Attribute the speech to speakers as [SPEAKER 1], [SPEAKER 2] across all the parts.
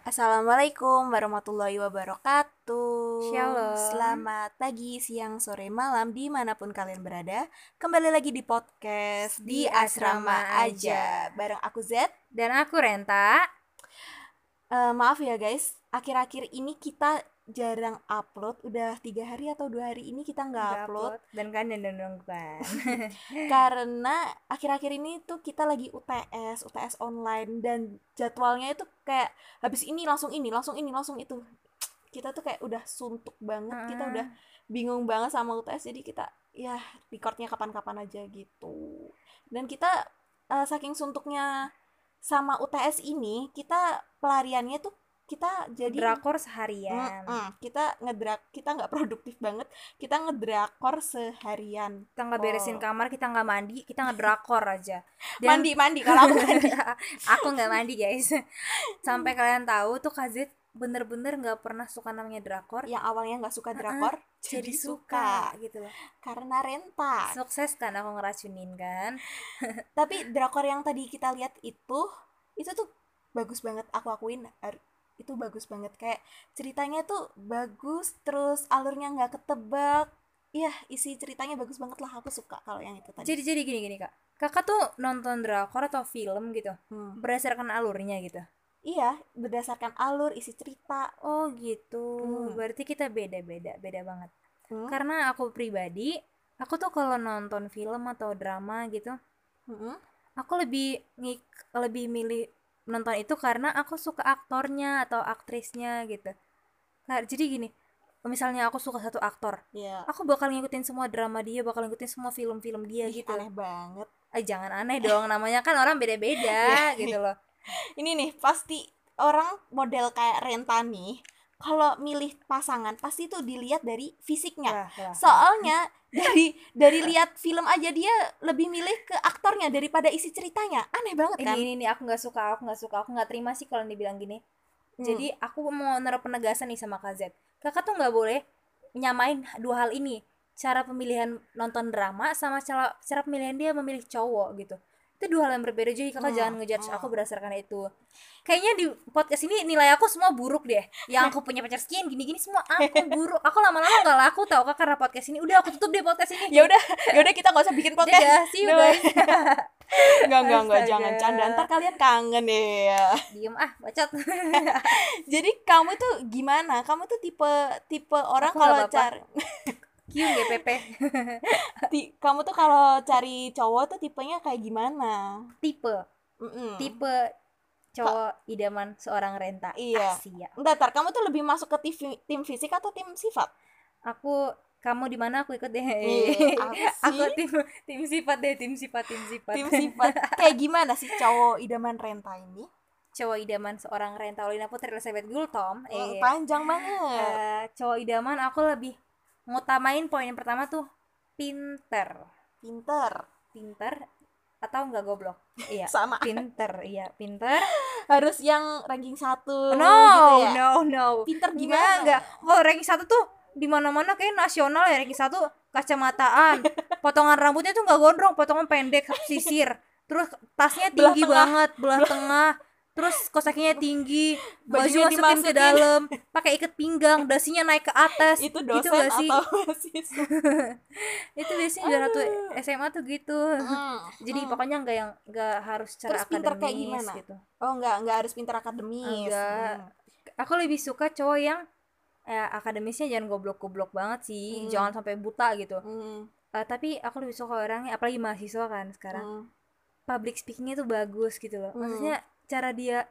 [SPEAKER 1] Assalamualaikum warahmatullahi wabarakatuh.
[SPEAKER 2] Shalom.
[SPEAKER 1] Selamat pagi, siang, sore, malam dimanapun kalian berada. Kembali lagi di podcast di,
[SPEAKER 2] Di
[SPEAKER 1] asrama
[SPEAKER 2] Asrama
[SPEAKER 1] aja.
[SPEAKER 2] Aja.
[SPEAKER 1] Bareng aku Z.
[SPEAKER 2] Dan aku Renta.
[SPEAKER 1] Eh, maaf ya guys, akhir-akhir ini kita jarang upload. Udah tiga hari atau dua hari ini kita nggak
[SPEAKER 2] Nggak
[SPEAKER 1] upload
[SPEAKER 2] dan kan. kalian dendong-dendongan.
[SPEAKER 1] karena akhir-akhir ini tuh kita lagi UTS, UTS online dan jadwalnya itu kayak habis ini langsung ini, langsung ini, langsung itu. Kita tuh kayak udah suntuk banget, kita udah bingung banget sama UTS jadi kita ya recordnya kapan-kapan aja gitu. Dan kita eh, saking suntuknya sama UTS ini, kita pelariannya tuh kita jadi
[SPEAKER 2] drakor seharian.
[SPEAKER 1] Mm-mm, kita ngedrak kita nggak produktif banget kita ngedrakor seharian
[SPEAKER 2] Kita nggak beresin
[SPEAKER 1] Oh.
[SPEAKER 2] kamar, kita nggak mandi, kita ngedrakor aja.
[SPEAKER 1] mandi mandi kalau aku kan. mandi
[SPEAKER 2] aku nggak mandi guys. Sampai kalian tahu tuh Kazit bener-bener nggak pernah suka namanya drakor.
[SPEAKER 1] yang awalnya nggak suka drakor Iya, jadi, suka.
[SPEAKER 2] gitu loh.
[SPEAKER 1] karena renta
[SPEAKER 2] Sukses kan aku ngeracunin kan.
[SPEAKER 1] tapi drakor yang tadi kita lihat itu itu tuh bagus banget aku akuin ar- itu bagus banget kayak ceritanya tuh bagus terus alurnya nggak ketebak Iya, isi ceritanya bagus banget lah. Aku suka kalau yang itu tadi.
[SPEAKER 2] Jadi jadi gini gini kak. Kakak tuh nonton drakor atau film gitu
[SPEAKER 1] Hmm.
[SPEAKER 2] berdasarkan alurnya gitu.
[SPEAKER 1] Iya, berdasarkan alur, isi cerita.
[SPEAKER 2] Oh gitu.
[SPEAKER 1] Hmm.
[SPEAKER 2] Berarti kita beda-beda, beda banget.
[SPEAKER 1] Hmm.
[SPEAKER 2] karena aku pribadi aku tuh kalau nonton film atau drama gitu
[SPEAKER 1] Mm-mm.
[SPEAKER 2] aku lebih ngik- lebih milih nonton itu karena aku suka aktornya atau aktrisnya gitu Nah, jadi gini misalnya aku suka satu aktor
[SPEAKER 1] Iya.
[SPEAKER 2] aku bakal ngikutin semua drama dia bakal ngikutin semua film-film dia
[SPEAKER 1] Ih,
[SPEAKER 2] gitu
[SPEAKER 1] Aneh banget.
[SPEAKER 2] eh jangan aneh dong namanya kan orang
[SPEAKER 1] Iya.
[SPEAKER 2] beda-beda gitu loh
[SPEAKER 1] ini nih pasti orang model kayak Renta nih kalau milih pasangan pasti tuh dilihat dari fisiknya
[SPEAKER 2] Lah, lah.
[SPEAKER 1] soalnya dari dari lihat film aja dia lebih milih ke aktornya daripada isi ceritanya aneh banget
[SPEAKER 2] ini
[SPEAKER 1] kan
[SPEAKER 2] ini ini aku nggak suka aku nggak suka aku nggak terima sih kalau dibilang gini
[SPEAKER 1] Hmm.
[SPEAKER 2] Jadi aku mau naruh penegasan nih sama Kak Z. Kakak tuh nggak boleh nyamain dua hal ini. Cara pemilihan nonton drama sama cara, cara pemilihan dia memilih cowok gitu. Itu dua hal yang berbeda. Jadi
[SPEAKER 1] Hmm,
[SPEAKER 2] kakak jangan ngejudge
[SPEAKER 1] hmm.
[SPEAKER 2] aku berdasarkan itu. Kayaknya di podcast ini nilai aku semua buruk deh. Yang aku punya pacar sekian gini-gini semua aku buruk. Aku lama-lama nggak laku tau kak karena podcast ini. Udah aku tutup deh podcast ini.
[SPEAKER 1] ya udah ya udah kita nggak usah bikin podcast
[SPEAKER 2] Dadah, see you
[SPEAKER 1] Bye.
[SPEAKER 2] guys.
[SPEAKER 1] nggak nggak nggak
[SPEAKER 2] Iya, Astaga.
[SPEAKER 1] jangan canda ntar kalian kangen ya
[SPEAKER 2] Diem ah, bacot.
[SPEAKER 1] jadi kamu tuh gimana kamu tuh tipe tipe orang
[SPEAKER 2] Aku
[SPEAKER 1] kalau
[SPEAKER 2] nggak apa-apa.
[SPEAKER 1] cari
[SPEAKER 2] Kium ya, GPP.
[SPEAKER 1] ti- kamu tuh kalau cari cowok tuh tipenya kayak gimana
[SPEAKER 2] Tipe.
[SPEAKER 1] Hmm. Mm-mm.
[SPEAKER 2] tipe cowok idaman seorang renta
[SPEAKER 1] Iya.
[SPEAKER 2] Asia.
[SPEAKER 1] Bentar, Tar, kamu tuh lebih masuk ke tim, tim fisik atau tim sifat?
[SPEAKER 2] Aku kamu di mana aku ikut deh.
[SPEAKER 1] Iya, apa sih?
[SPEAKER 2] Eh, aku tim tim sifat deh, tim sifat, tim sifat.
[SPEAKER 1] Tim sifat. Kayak gimana sih cowok idaman Renta ini?
[SPEAKER 2] cowok idaman seorang renta Olina Putri Elizabeth Gultom.
[SPEAKER 1] Mm,
[SPEAKER 2] Eh,
[SPEAKER 1] Panjang banget.
[SPEAKER 2] eh, cowok idaman aku lebih ngutamain poin yang pertama tuh pinter.
[SPEAKER 1] Pinter.
[SPEAKER 2] Pinter atau enggak goblok? Iya.
[SPEAKER 1] Sama.
[SPEAKER 2] pinter, iya, pinter.
[SPEAKER 1] Harus yang ranking satu.
[SPEAKER 2] No,
[SPEAKER 1] gitu ya.
[SPEAKER 2] no, no.
[SPEAKER 1] Pinter
[SPEAKER 2] gimana
[SPEAKER 1] gimana?
[SPEAKER 2] enggak kalau ranking satu tuh di mana mana kayak nasional ya ranking satu kacamataan potongan rambutnya tuh nggak gondrong potongan pendek sisir terus tasnya
[SPEAKER 1] Belah
[SPEAKER 2] tinggi
[SPEAKER 1] tengah.
[SPEAKER 2] banget belah tengah terus kosakinya tinggi baju
[SPEAKER 1] Bajunya
[SPEAKER 2] masukin ke
[SPEAKER 1] dimasukin.
[SPEAKER 2] dalam pakai ikat pinggang dasinya naik ke atas
[SPEAKER 1] Itu
[SPEAKER 2] Gitu
[SPEAKER 1] dosen
[SPEAKER 2] nggak sih
[SPEAKER 1] atau mahasiswa?
[SPEAKER 2] itu biasanya juara tuh
[SPEAKER 1] Aduh.
[SPEAKER 2] SMA tuh gitu
[SPEAKER 1] Mm,
[SPEAKER 2] jadi
[SPEAKER 1] mm.
[SPEAKER 2] pokoknya nggak yang nggak harus cara
[SPEAKER 1] Terus pinter kayak
[SPEAKER 2] akademis
[SPEAKER 1] gimana?
[SPEAKER 2] gitu
[SPEAKER 1] Oh, enggak, enggak harus pinter akademis.
[SPEAKER 2] Enggak.
[SPEAKER 1] Mm.
[SPEAKER 2] Iya. aku lebih suka cowok yang eh, akademisnya jangan goblok-goblok banget sih
[SPEAKER 1] Hmm.
[SPEAKER 2] jangan sampai buta gitu
[SPEAKER 1] Mm,
[SPEAKER 2] Eh, tapi aku lebih suka orangnya apalagi mahasiswa kan sekarang
[SPEAKER 1] mm.
[SPEAKER 2] public speakingnya tuh bagus gitu loh
[SPEAKER 1] Hmm.
[SPEAKER 2] maksudnya cara dia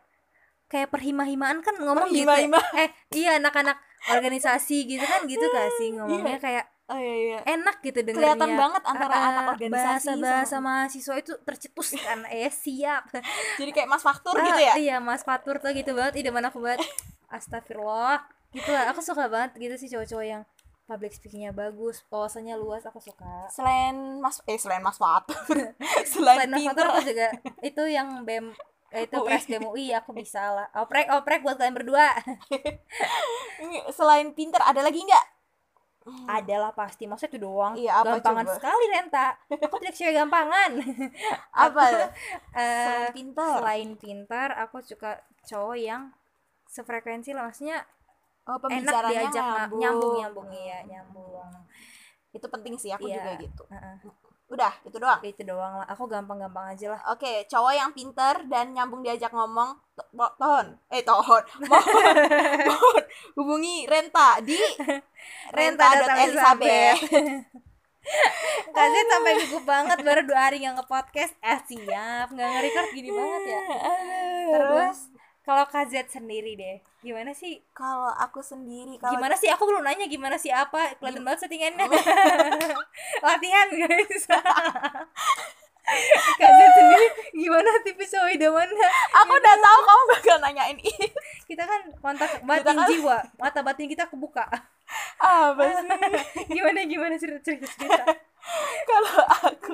[SPEAKER 2] kayak perhima-himaan kan ngomong gitu ya.
[SPEAKER 1] Perhima-himaan.
[SPEAKER 2] eh iya anak-anak organisasi gitu kan gitu gak sih ngomongnya kayak
[SPEAKER 1] Oh iya iya.
[SPEAKER 2] enak gitu dengarnya
[SPEAKER 1] Kelihatan banget antara
[SPEAKER 2] Ah, ah,
[SPEAKER 1] anak organisasi
[SPEAKER 2] bahasa-bahasa
[SPEAKER 1] sama-
[SPEAKER 2] mahasiswa itu tercetus kan eh siap
[SPEAKER 1] Jadi kayak mas faktur
[SPEAKER 2] Ah,
[SPEAKER 1] gitu ya?
[SPEAKER 2] Iya, Mas Fatur tuh gitu banget. Ide mana aku banget. Astagfirullah. Gitu lah. Aku suka banget gitu sih cowok-cowok yang public speakingnya bagus, wawasannya luas, aku suka.
[SPEAKER 1] Selain mas eh selain mas faktur. selain,
[SPEAKER 2] Selain Mas
[SPEAKER 1] pinter.
[SPEAKER 2] Fatur aku juga itu yang BEM eh, itu
[SPEAKER 1] UI.
[SPEAKER 2] pres BEM UI aku bisa lah. Oprek oprek buat kalian berdua.
[SPEAKER 1] Selain pinter ada lagi nggak?
[SPEAKER 2] Adalah pasti. Maksudnya itu doang.
[SPEAKER 1] Hmm. Iya, apa
[SPEAKER 2] gampangan
[SPEAKER 1] coba?
[SPEAKER 2] sekali Renta. Aku tidak cewek gampangan.
[SPEAKER 1] Apa?
[SPEAKER 2] Eh,
[SPEAKER 1] Selain pinter.
[SPEAKER 2] selain pintar, aku suka cowok yang sefrekuensi lah maksudnya
[SPEAKER 1] Oh,
[SPEAKER 2] enak
[SPEAKER 1] pembicaraannya
[SPEAKER 2] diajak na-
[SPEAKER 1] nyambung.
[SPEAKER 2] nyambung nyambung iya nyambung
[SPEAKER 1] Itu penting sih, aku
[SPEAKER 2] Iya.
[SPEAKER 1] juga gitu.
[SPEAKER 2] Heeh.
[SPEAKER 1] Udah, itu doang.
[SPEAKER 2] Ya, itu doang lah aku gampang-gampang aja lah
[SPEAKER 1] Oke, cowok yang pinter dan nyambung diajak ngomong, to- mo- tohon, eh tohon, mohon, mohon, hubungi Renta di renta.elizabeth.
[SPEAKER 2] Kazet sampai gugup banget baru dua hari nggak nge-podcast eh siap nggak nge-record gini banget ya
[SPEAKER 1] Terus,
[SPEAKER 2] terus kalau Kazet sendiri deh gimana sih
[SPEAKER 1] kalau aku sendiri, kalau
[SPEAKER 2] gimana sih aku belum nanya gimana sih apa kelihatan banget settingannya
[SPEAKER 1] Oh.
[SPEAKER 2] latihan guys Kazet sendiri gimana tipe cowok idamannya
[SPEAKER 1] aku udah tahu kamu bakal nanyain ini.
[SPEAKER 2] kita kan kontak batin
[SPEAKER 1] kan-
[SPEAKER 2] jiwa mata batin kita kebuka
[SPEAKER 1] Apa sih?
[SPEAKER 2] gimana gimana cerita cerita cerita
[SPEAKER 1] kalau aku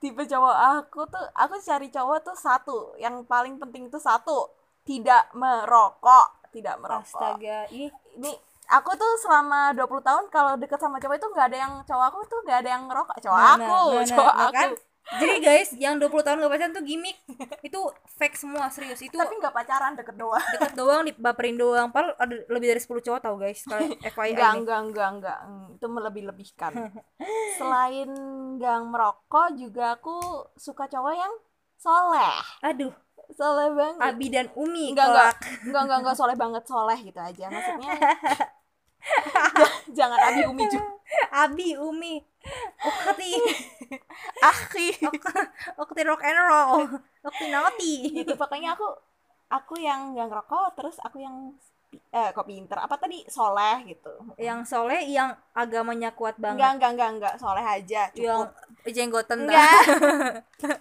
[SPEAKER 1] tipe cowok aku tuh aku cari cowok tuh satu yang paling penting tuh satu tidak merokok tidak merokok
[SPEAKER 2] astaga ini
[SPEAKER 1] ini aku tuh selama 20 tahun kalau deket sama cowok itu nggak ada yang cowok aku tuh nggak ada yang ngerokok cowok
[SPEAKER 2] Mana,
[SPEAKER 1] aku
[SPEAKER 2] mana,
[SPEAKER 1] cowok
[SPEAKER 2] nah
[SPEAKER 1] aku
[SPEAKER 2] kan? Jadi guys, yang 20 tahun gak pacaran tuh gimmick. Itu fake semua, serius. Itu
[SPEAKER 1] tapi nggak pacaran deket doang
[SPEAKER 2] deket doang, dibaperin doang. Padahal ada lebih dari 10 cowok tau guys. Kalau FYI
[SPEAKER 1] enggak
[SPEAKER 2] nih.
[SPEAKER 1] enggak enggak enggak Hmm, itu melebih-lebihkan selain nggak merokok juga aku suka cowok yang soleh
[SPEAKER 2] Aduh,
[SPEAKER 1] soleh banget
[SPEAKER 2] Abi dan Umi
[SPEAKER 1] Enggak, enggak.
[SPEAKER 2] kelak.
[SPEAKER 1] Enggak, enggak, enggak soleh banget soleh gitu aja maksudnya. j- jangan abi umi juga.
[SPEAKER 2] Abi, Umi. Okti,
[SPEAKER 1] Akhi.
[SPEAKER 2] Ok- Okti rock and roll. Okti naughty.
[SPEAKER 1] Gitu pokoknya aku aku yang enggak ngerokok terus aku yang eh kok pinter apa tadi soleh gitu.
[SPEAKER 2] Yang soleh, yang agamanya kuat
[SPEAKER 1] Enggak,
[SPEAKER 2] banget. Ya
[SPEAKER 1] enggak, enggak, enggak soleh aja cukup.
[SPEAKER 2] Yang jenggotan
[SPEAKER 1] Enggak.
[SPEAKER 2] dah.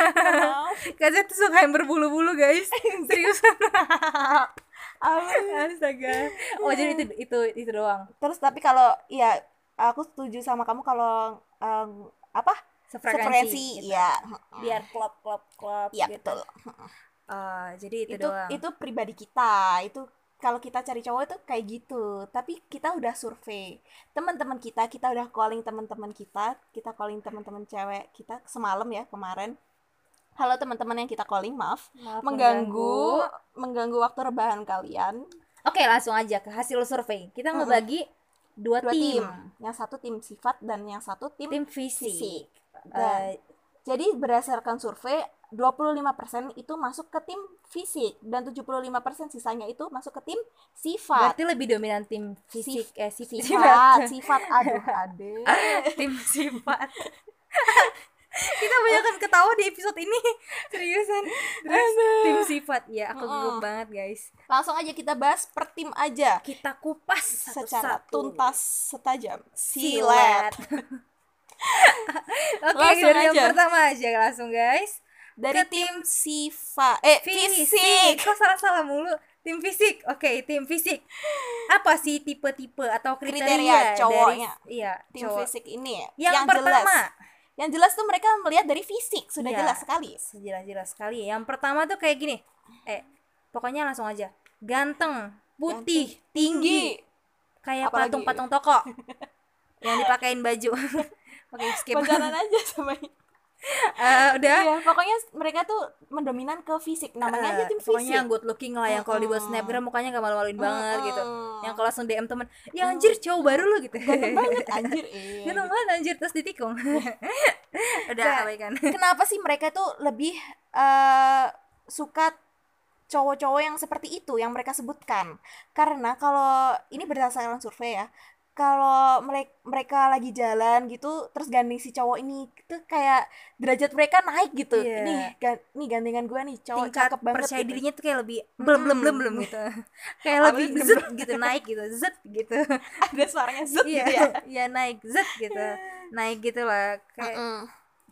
[SPEAKER 1] Enggak mau.
[SPEAKER 2] Kazet Kan tuh suka yang berbulu-bulu guys. Serius.
[SPEAKER 1] Aku-
[SPEAKER 2] Astaga. Oh, jadi itu itu itu doang.
[SPEAKER 1] terus tapi kalau ya aku setuju sama kamu kalau em, apa? Frekuensi,
[SPEAKER 2] gitu.
[SPEAKER 1] ya.
[SPEAKER 2] biar klop klop klop
[SPEAKER 1] Iya,
[SPEAKER 2] gitu.
[SPEAKER 1] betul.
[SPEAKER 2] Eh, jadi itu,
[SPEAKER 1] itu
[SPEAKER 2] doang
[SPEAKER 1] itu pribadi kita itu kalau kita cari cowok itu kayak gitu tapi kita udah survei teman-teman kita kita udah calling teman-teman kita kita calling teman-teman cewek kita semalam ya kemarin halo teman-teman yang kita calling maaf
[SPEAKER 2] Maaf
[SPEAKER 1] mengganggu mengganggu waktu rebahan kalian
[SPEAKER 2] oke langsung aja ke hasil survei kita
[SPEAKER 1] Mm-mm.
[SPEAKER 2] ngebagi dua,
[SPEAKER 1] dua
[SPEAKER 2] tim.
[SPEAKER 1] tim yang satu tim sifat dan yang satu tim,
[SPEAKER 2] tim fisik,
[SPEAKER 1] fisik
[SPEAKER 2] Eh,
[SPEAKER 1] Jadi berdasarkan survei 25% itu masuk ke tim fisik dan 75% sisanya itu masuk ke tim sifat.
[SPEAKER 2] berarti lebih dominan tim fisik eh sif-
[SPEAKER 1] sifat, sifat aduh ade.
[SPEAKER 2] tim sifat kita banyak kan ketawa di episode ini seriusan Terus, tim sifat ya aku gugup
[SPEAKER 1] Mm-mm.
[SPEAKER 2] banget guys
[SPEAKER 1] Langsung aja kita bahas per tim aja
[SPEAKER 2] kita kupas
[SPEAKER 1] secara
[SPEAKER 2] satu-satu.
[SPEAKER 1] tuntas setajam
[SPEAKER 2] silet
[SPEAKER 1] silet.
[SPEAKER 2] oke
[SPEAKER 1] Langsung
[SPEAKER 2] dari yang
[SPEAKER 1] aja.
[SPEAKER 2] pertama aja langsung guys
[SPEAKER 1] Dari tim sifat eh fisik.
[SPEAKER 2] Kok salah-salah mulu? Tim fisik. Oke, tim fisik. Apa sih tipe-tipe atau kriteria,
[SPEAKER 1] Kriteria
[SPEAKER 2] dari-
[SPEAKER 1] cowoknya.
[SPEAKER 2] iya,
[SPEAKER 1] Tim
[SPEAKER 2] cowok.
[SPEAKER 1] fisik ini
[SPEAKER 2] Yang, pertama,
[SPEAKER 1] jelas. Yang jelas tuh mereka melihat dari fisik sudah
[SPEAKER 2] Iya.
[SPEAKER 1] jelas sekali.
[SPEAKER 2] sejelas-jelas sekali. Yang pertama tuh kayak gini. Eh, pokoknya langsung aja. Ganteng, putih,
[SPEAKER 1] Tinggi.
[SPEAKER 2] tinggi, kayak
[SPEAKER 1] Apalagi?
[SPEAKER 2] patung-patung toko. yang dipakein baju. Oke, skip.
[SPEAKER 1] Pacaran aja sama ini.
[SPEAKER 2] Eh, udah.
[SPEAKER 1] Iya, pokoknya mereka tuh mendominan ke fisik. Namanya aja
[SPEAKER 2] Eh,
[SPEAKER 1] tim
[SPEAKER 2] pokoknya yang
[SPEAKER 1] fisik.
[SPEAKER 2] good looking lah yang kalau dibuat
[SPEAKER 1] Mm-mm.
[SPEAKER 2] snapgram mukanya gak malu-maluin banget gitu
[SPEAKER 1] Mm-mm.
[SPEAKER 2] yang kalau langsung DM temen ya anjir cowok baru lu gitu
[SPEAKER 1] Ganteng banget anjir. Iya,
[SPEAKER 2] Ganteng banget anjir terus ditikung udah
[SPEAKER 1] Nah,
[SPEAKER 2] abaikan
[SPEAKER 1] kenapa sih mereka tuh lebih eh, suka cowok-cowok yang seperti itu yang mereka sebutkan karena kalau ini berdasarkan survei ya kalau mereka mereka lagi jalan gitu terus gandeng si cowok ini tuh kayak derajat mereka naik gitu
[SPEAKER 2] Iya.
[SPEAKER 1] nih gan- nih gandengan gue nih cowok
[SPEAKER 2] tingkat
[SPEAKER 1] cakep banget
[SPEAKER 2] percaya
[SPEAKER 1] gitu.
[SPEAKER 2] dirinya tuh kayak lebih belum belum belum belum gitu kayak
[SPEAKER 1] Apa
[SPEAKER 2] lebih
[SPEAKER 1] sih belum,
[SPEAKER 2] zet gitu naik gitu zet gitu
[SPEAKER 1] ada suaranya zut
[SPEAKER 2] iya
[SPEAKER 1] gitu ya
[SPEAKER 2] iya naik zet gitu naik gitu lah kayak
[SPEAKER 1] Mm-mm.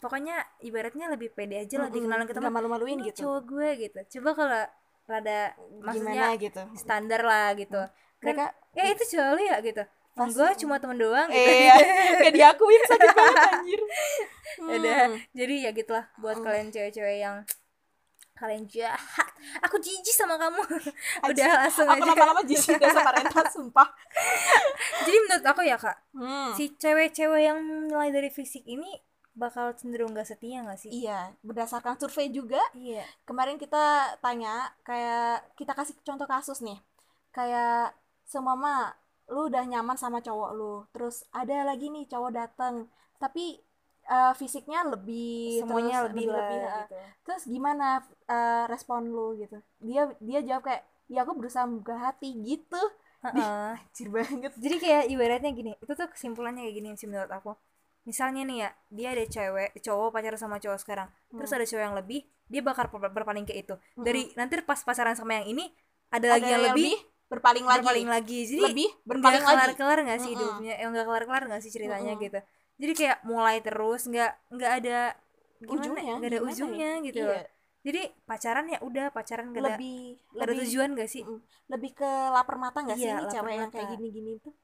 [SPEAKER 2] pokoknya ibaratnya lebih pede aja lah
[SPEAKER 1] Mm-mm.
[SPEAKER 2] dikenalin ke
[SPEAKER 1] Nggak
[SPEAKER 2] teman
[SPEAKER 1] malu-maluin
[SPEAKER 2] ini
[SPEAKER 1] gitu
[SPEAKER 2] cowok gue gitu coba kalau rada maksudnya
[SPEAKER 1] gimana gitu
[SPEAKER 2] standar lah gitu kan
[SPEAKER 1] mereka
[SPEAKER 2] ya itu cowok lu ya gitu
[SPEAKER 1] Pasti.
[SPEAKER 2] gue cuma temen doang gitu
[SPEAKER 1] eh kayak diakuin sakit banget anjir
[SPEAKER 2] Udah.
[SPEAKER 1] Hmm.
[SPEAKER 2] jadi ya gitulah
[SPEAKER 1] Oh.
[SPEAKER 2] buat kalian cewek-cewek yang kalian jahat aku jijik sama kamu udah langsung
[SPEAKER 1] aku
[SPEAKER 2] aja
[SPEAKER 1] lama-lama jijik deh sama Renta sumpah
[SPEAKER 2] jadi menurut aku ya kak
[SPEAKER 1] hmm.
[SPEAKER 2] si cewek-cewek yang mulai dari fisik ini bakal cenderung gak setia gak sih?
[SPEAKER 1] Iya, berdasarkan survei juga
[SPEAKER 2] Iya.
[SPEAKER 1] kemarin kita tanya kayak kita kasih contoh kasus nih kayak semama lu udah nyaman sama cowok lu terus ada lagi nih cowok dateng tapi eh, fisiknya lebih
[SPEAKER 2] Semuanya
[SPEAKER 1] terus
[SPEAKER 2] lebih lah
[SPEAKER 1] lebih-lebih, eh.
[SPEAKER 2] gitu.
[SPEAKER 1] terus gimana eh, respon lu gitu dia dia jawab kayak ya aku berusaha membuka hati gitu
[SPEAKER 2] Heeh.
[SPEAKER 1] Anjir banget
[SPEAKER 2] Jadi kayak ibaratnya gini, itu tuh kesimpulannya kayak gini sih menurut aku. Misalnya nih ya, dia ada cewek, cowok pacaran sama cowok sekarang. Terus
[SPEAKER 1] Hmm.
[SPEAKER 2] ada cowok yang lebih, dia bakal ber- berpaling ke itu. Dari nanti pas pacaran sama yang ini, ada, lagi
[SPEAKER 1] Ada
[SPEAKER 2] yang, lebih,
[SPEAKER 1] berpaling lagi
[SPEAKER 2] berpaling lagi. Jadi
[SPEAKER 1] lebih
[SPEAKER 2] nggak
[SPEAKER 1] berpaling lagi
[SPEAKER 2] kelar-kelar nggak sih
[SPEAKER 1] Mm-mm.
[SPEAKER 2] hidupnya, yang nggak kelar-kelar nggak sih ceritanya
[SPEAKER 1] Mm-mm.
[SPEAKER 2] gitu. Jadi kayak mulai terus, nggak nggak ada gimana,
[SPEAKER 1] Ujungnya,
[SPEAKER 2] nggak ada
[SPEAKER 1] gimana ya?
[SPEAKER 2] ujungnya gitu.
[SPEAKER 1] Iya,
[SPEAKER 2] loh. Jadi pacaran ya udah pacaran nggak ada,
[SPEAKER 1] lebih
[SPEAKER 2] nggak ada
[SPEAKER 1] lebih
[SPEAKER 2] tujuan nggak sih?
[SPEAKER 1] Mm-mm. lebih ke lapar mata nggak sih ini
[SPEAKER 2] Iya, lapar
[SPEAKER 1] cewek yang kayak
[SPEAKER 2] mata.
[SPEAKER 1] gini-gini tuh